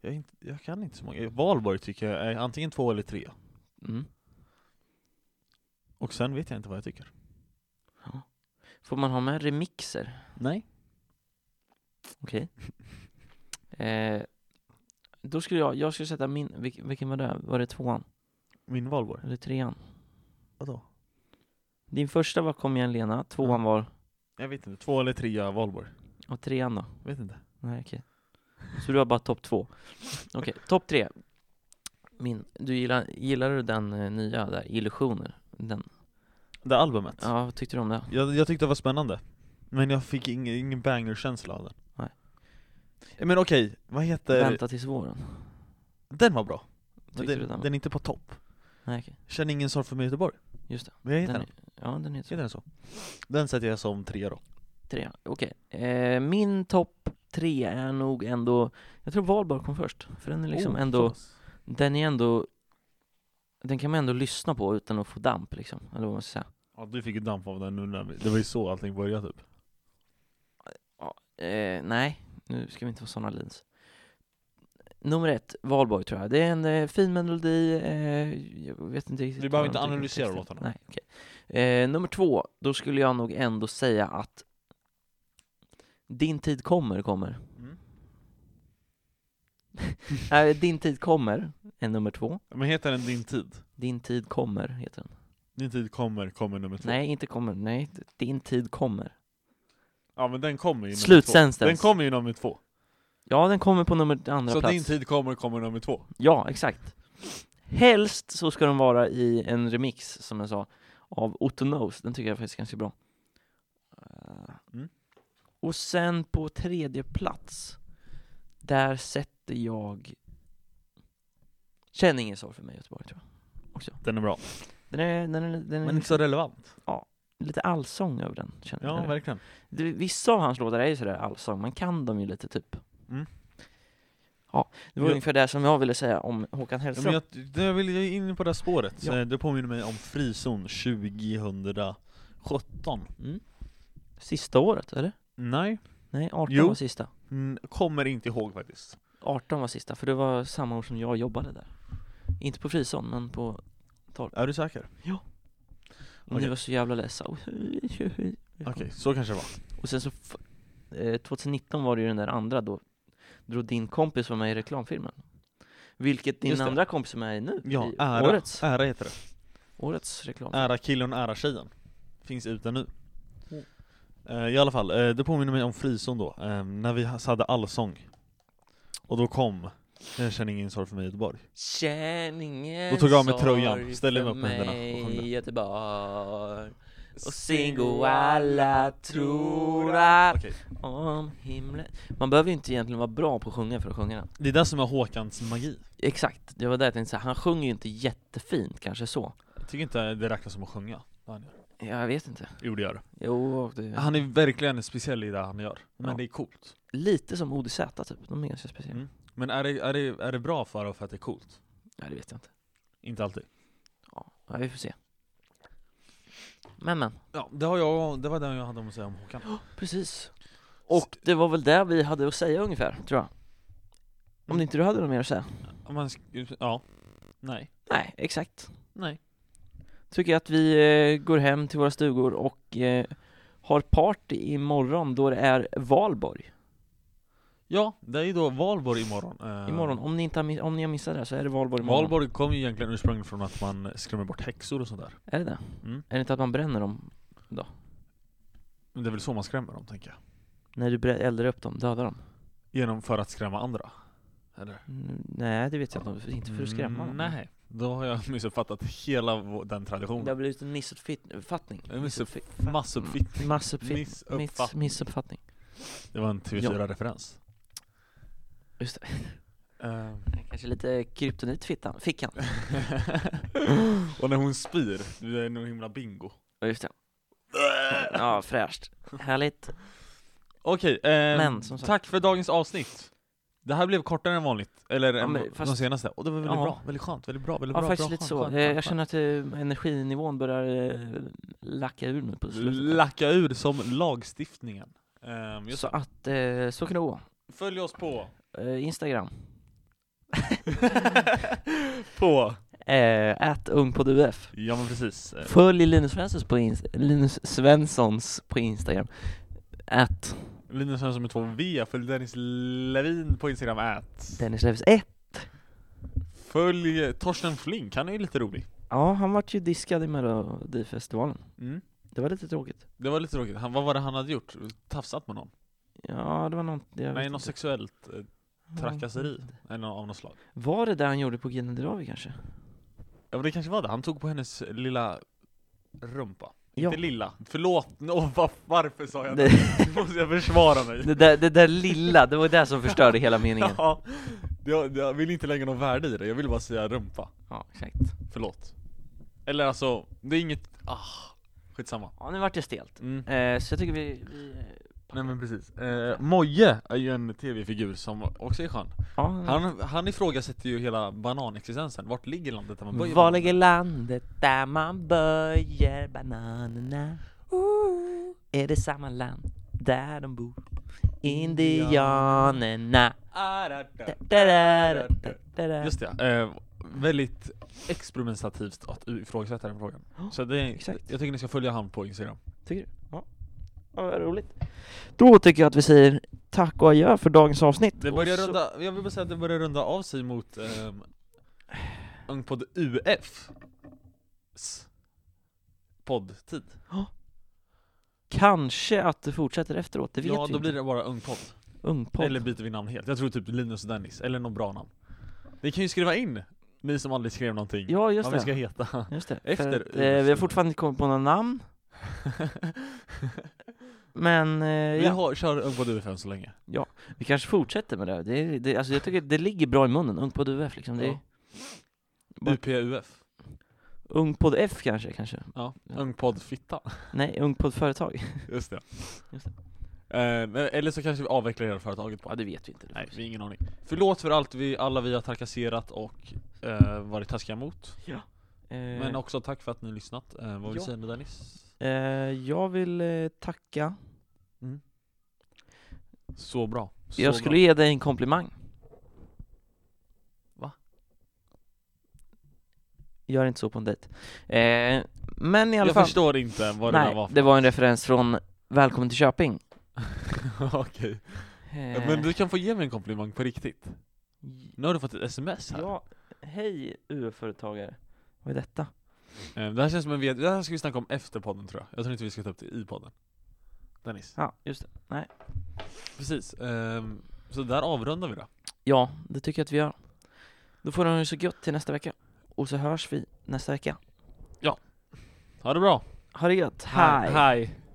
S2: Jag, är inte, jag kan inte så många. Valborg tycker jag är antingen två eller tre.
S1: Mm.
S2: Och sen vet jag inte vad jag tycker.
S1: Får man ha med remixer?
S2: Nej.
S1: Okej. Eh, då skulle jag, jag skulle sätta min, vilken, vilken var det? Var det tvåan?
S2: Min Valborg?
S1: Eller trean?
S2: Vadå?
S1: Din första var Kom igen Lena, tvåan var,
S2: Jag vet inte, två eller trea Valborg.
S1: och trean då?
S2: Jag vet inte.
S1: Nej okej. Så du har bara topp två. Okej, topp tre. Min, du gillar, gillar du den eh, nya där, Illusioner? Den.
S2: Det albumet.
S1: Ja, vad tyckte du om det?
S2: Jag, jag tyckte det var spännande. Men jag fick ingen, ingen banger-känsla av den. Eh,
S1: Nej.
S2: Men okej, vad heter...
S1: Vänta tills våren?
S2: Den var bra. Men
S1: Tyckte du
S2: Den,
S1: den?
S2: den
S1: var-
S2: är inte på topp.
S1: Nej, okej.
S2: Känner ingen sorg för mig i Göteborg.
S1: Just det.
S2: Men jag hittar
S1: Den,
S2: den.
S1: är- ja, den heter
S2: Heter den så? Den sätter jag som tre då.
S1: Tre, okej. Eh, min topp tre är nog ändå, jag tror Valborg kom först. För den är liksom
S2: Oh,
S1: ändå,
S2: så pass.
S1: den är ändå, den kan man ändå lyssna på utan att få damp liksom, eller vad man ska säga.
S2: Ja, du fick ju damp av den nu när vi- Det var ju så allting började typ.
S1: Eh, nej, nu ska vi inte vara såna Linus. Nummer ett, Valborg tror jag. Det är en eh, fin melodi, eh, jag vet inte riktigt
S2: Vi behöver
S1: vad de
S2: inte
S1: tycker om
S2: analysera
S1: texten.
S2: låtarna.
S1: Nej, okej. eh, Nummer två, då skulle jag nog ändå säga att Din tid kommer kommer.
S2: Mm.
S1: Eh, din tid kommer är nummer två.
S2: Men heter den Din tid?
S1: Din tid kommer heter den.
S2: Din tid kommer, kommer nummer två.
S1: Nej, inte kommer. Nej, d- din tid kommer.
S2: Ja men den kommer ju nummer två.
S1: Slutsentens.
S2: Den kommer ju nummer två.
S1: Ja, den kommer på nummer andra
S2: så
S1: plats.
S2: din tid kommer, kommer nummer två.
S1: Ja, exakt. Helst så ska de vara i en remix, som jag sa, av Otto Knows. Den tycker jag faktiskt är ganska bra. Eh,
S2: Mm.
S1: Och sen på tredje plats, där sätter jag Känn ingen sorg för mig Göteborg tror jag.
S2: Den är bra.
S1: Den är, den är, den är
S2: Men inte så
S1: liksom
S2: relevant.
S1: lite allsång över den känner
S2: Ja,
S1: jag.
S2: verkligen.
S1: Det, vissa av hans låtar är ju sådär allsång, man kan dem ju lite typ
S2: Mm.
S1: Ja, det var
S2: Jo.
S1: ungefär det som jag ville säga om Håkan
S2: Ja,
S1: Hellström
S2: men jag, det- jag vill jag är inne på det här spåret.
S1: Ja.
S2: Eh, Det påminner mig om Frizon 2017.
S1: mm. Sista året, eller?
S2: Nej,
S1: Nej, 18
S2: Jo.
S1: var sista
S2: mm, kommer inte ihåg faktiskt.
S1: 18 var sista, för det var samma år som jag jobbade där Inte på Frison, men på
S2: Är du säker?
S1: Ni
S2: Okej.
S1: var så jävla ledsa
S2: Okej, så kanske det var.
S1: Och sen så f- eh, 2019 var det ju den där andra då Då din kompis var med i reklamfilmen Vilket din
S2: Just det.
S1: andra kompis är med i nu,
S2: Ja,
S1: i
S2: ära.
S1: årets,
S2: Ära heter det.
S1: årets reklam
S2: Ära killen, ära tjejen. Finns ute nu.
S1: Mm.
S2: Eh, I alla fall, eh, det påminner mig om Frizon då, eh, när vi hade allsång. Och då kom Jag känner ingen sorg för mig i Göteborg.
S1: Känn ingen
S2: Då tog jag av mig
S1: sorg
S2: tröjan, ställde mig
S1: för
S2: upp med händerna och
S1: mig,
S2: sjöng det.
S1: Göteborg Och singo alla tror att
S2: Okej,
S1: om himlen Man behöver ju inte egentligen vara bra på att sjunga för att sjunga den
S2: Det är det som är Håkans magi.
S1: Exakt, det var det jag tänkte säga, han sjunger ju inte jättefint kanske så
S2: Jag tycker inte det räknas som att sjunga. det han gör.
S1: Jag vet inte
S2: Jo det gör det.
S1: Jo, det är
S2: Han är verkligen speciell i det han gör. Men
S1: Ja.
S2: det är coolt.
S1: lite som ODZ typ, de är ganska speciella
S2: Mm. Men är det, är det, är det bra för, för att det är coolt?
S1: Ja, det vet jag inte
S2: Inte alltid.
S1: Ja, ja vi får se Men men
S2: Ja, det, har jag, det var det jag hade att säga om Håkan.
S1: Precis. Och det var väl det vi hade att säga ungefär, tror jag. Om
S2: Mm.
S1: inte du hade något mer att säga?
S2: Om man sk- ja. Nej.
S1: Nej, exakt.
S2: Nej.
S1: Tycker jag att vi eh, går hem till våra stugor och eh, har party imorgon då det är valborg.
S2: Ja, det är ju då valborg imorgon. Eh,
S1: Imorgon, om ni, inte har, miss- om ni har missat det här så är det valborg imorgon.
S2: Valborg kom ju egentligen ursprungligen från att man skrämmer bort häxor och sådär.
S1: Är det det?
S2: Mm.
S1: Är det inte att man bränner dem?
S2: Men det är väl så man skrämmer dem, tänker jag.
S1: När du brä- eldar upp dem, dödar dem?
S2: Genom för att skrämma andra. Eller?
S1: Mm, nej, det vet jag inte. Inte för att skrämma dem.
S2: Mm, nej. Då har jag missuppfattat hela vå- den
S1: Det har
S2: traditionen.
S1: blivit en missuppfattning.
S2: En missuppf-
S1: Missuppfattning.
S2: Massuppfitt.
S1: Massuppfattning. Mm. Miss-
S2: Missuppfattning.
S1: Missuppfattning.
S2: Det var en TV4-referens.
S1: Just det.
S2: Eh,
S1: Kanske lite kryptonit fittan, fickan.
S2: och när hon spyr, det är nog himla bingo.
S1: Ja, Just det. Ja, fräscht. Härligt.
S2: Okej, eh,
S1: Men, som sagt-
S2: tack för dagens avsnitt. Det här blev kortare än vanligt, eller
S1: Ja,
S2: än
S1: men fast-
S2: de senaste, och det var väldigt
S1: Ja.
S2: bra, väldigt skönt, väldigt bra, väldigt
S1: Ja,
S2: bra.
S1: faktiskt
S2: bra,
S1: lite
S2: skönt,
S1: så.
S2: skönt,
S1: Eh,
S2: skönt,
S1: Jag känner
S2: skönt.
S1: att eh, energinivån börjar eh, lacka ur nu på slutet.
S2: Lacka ur som lagstiftningen. Ehm, just
S1: Så att, eh, så kan det gå.
S2: Följ oss på...
S1: Eh, Instagram.
S2: på...
S1: Ät ung på UF.
S2: Ja men precis. Eh,
S1: Eh, Följ Linus Svenssons på, ins- Linus Svenssons på Instagram. Ät
S2: Linus Svensson med två V, följ Dennis Levin på Instagram at.
S1: Dennis Levis 1.
S2: Följ Torsten Flink, han är ju lite rolig.
S1: Ja, han vart ju diskad i Melodifestivalen.
S2: Mm.
S1: Det var lite tråkigt.
S2: Det var lite tråkigt, han, vad var det han hade gjort? Tafsat med någon?
S1: Ja, det var något... jag vet
S2: Nej,
S1: inte.
S2: något sexuellt eh, trakasseri än av något slag.
S1: Var det det han gjorde på Gina Dirawi kanske?
S2: Ja men det kanske var det, han tog på hennes lilla rumpa.
S1: Ja.
S2: Inte lilla, förlåt, Nå, va- varför sa jag det?
S1: Det,
S2: Nu måste jag försvara mig.
S1: det, där, det där lilla, det var det som förstörde hela meningen.
S2: Ja, jag, jag vill inte lägga någon värde i det, jag vill bara säga rumpa.
S1: Ja, exakt.
S2: Förlåt. Eller alltså, det är inget, ah, skitsamma.
S1: Ja, nu vart det stelt.
S2: Mm.
S1: Eh, så jag tycker vi... vi eh,
S2: Nej men precis. Eh, Moje är ju en tv-figur som också är skön.
S1: ja,
S2: Han, han ifrågasätter ju hela bananexistensen, vart ligger landet där man böjer
S1: Var
S2: bananer?
S1: ligger landet där man böjer bananerna? Är det samma land där de bor? Indianerna Da, da, da, da, da, da, da.
S2: Just det, eh, väldigt experimentativt att ifrågasätta den frågan. Så det,
S1: Exakt.
S2: jag tycker ni ska följa han på Instagram.
S1: Tycker du? Ja. ja vad roligt. Då tycker jag att vi säger tack och adjö för dagens avsnitt.
S2: Det
S1: Och
S2: börjar
S1: så-
S2: runda, jag vill bara säga att det börjar runda av sig mot ehm, Ungpodd UF s poddtid.
S1: Kanske att det fortsätter efteråt, det vet
S2: Ja,
S1: vi
S2: då blir
S1: inte.
S2: det bara Ungpodd.
S1: Ungpodd.
S2: Eller byter vi namn helt. Jag tror typ Linus och Dennis, eller något bra namn. Ni kan ju skriva in, ni som aldrig skrev någonting,
S1: Ja, just
S2: vad vi
S1: det.
S2: ska heta.
S1: Just det.
S2: Efter-
S1: För att, eh, vi har fortfarande inte kommit på några namn, men eh,
S2: vi
S1: ja.
S2: har, kör Ungpodd UF än så länge.
S1: vi kanske fortsätter med det. här. det, är- det alltså, jag tycker det ligger bra i munnen, Ung podd UF liksom. Det är,
S2: Ja. UPUF.
S1: Ung podd F kanske, kanske.
S2: Ja, Ungpodd Fitta.
S1: Nej, Ung podd Företag.
S2: Just det.
S1: Just det.
S2: Eh, men- eller så kanske vi avvecklar hela företaget bara.
S1: Ja, det vet vi inte. Det får
S2: Nej,
S1: vi se.
S2: vi har ingen aning. Förlåt för allt vi, alla vi har trakasserat och eh, varit taskiga mot.
S1: Eh,
S2: Men också tack för att ni har lyssnat. Eh, vad vill
S1: Ja.
S2: du säga nu Dennis?
S1: eh, jag vill eh, tacka.
S2: Så bra. Så
S1: jag skulle ge dig en komplimang.
S2: Va?
S1: Gör inte så på en dejt. Eh, men i
S2: bra.
S1: alla
S2: Jag
S1: fall.
S2: förstår inte vad det
S1: Nej,
S2: där var för
S1: det var en referens från Välkommen till Köping.
S2: Okej.
S1: Eh,
S2: Men du kan få ge mig en komplimang på riktigt. Nu har du fått ett sms här.
S1: Ja, hej UF-företagare. Vad är detta?
S2: Eh, det här känns som en ved- Det här ska vi snacka om efter podden tror jag. Jag tror inte vi ska ta upp det i podden. Dennis.
S1: Ja, just det.
S2: Precis. ehm, så där avrundar vi då.
S1: Ja, det tycker jag att vi gör. Då får de ju så gött till nästa vecka. Och så hörs vi nästa vecka.
S2: Ha det bra.
S1: Ha det gött. Hej!
S2: Hej.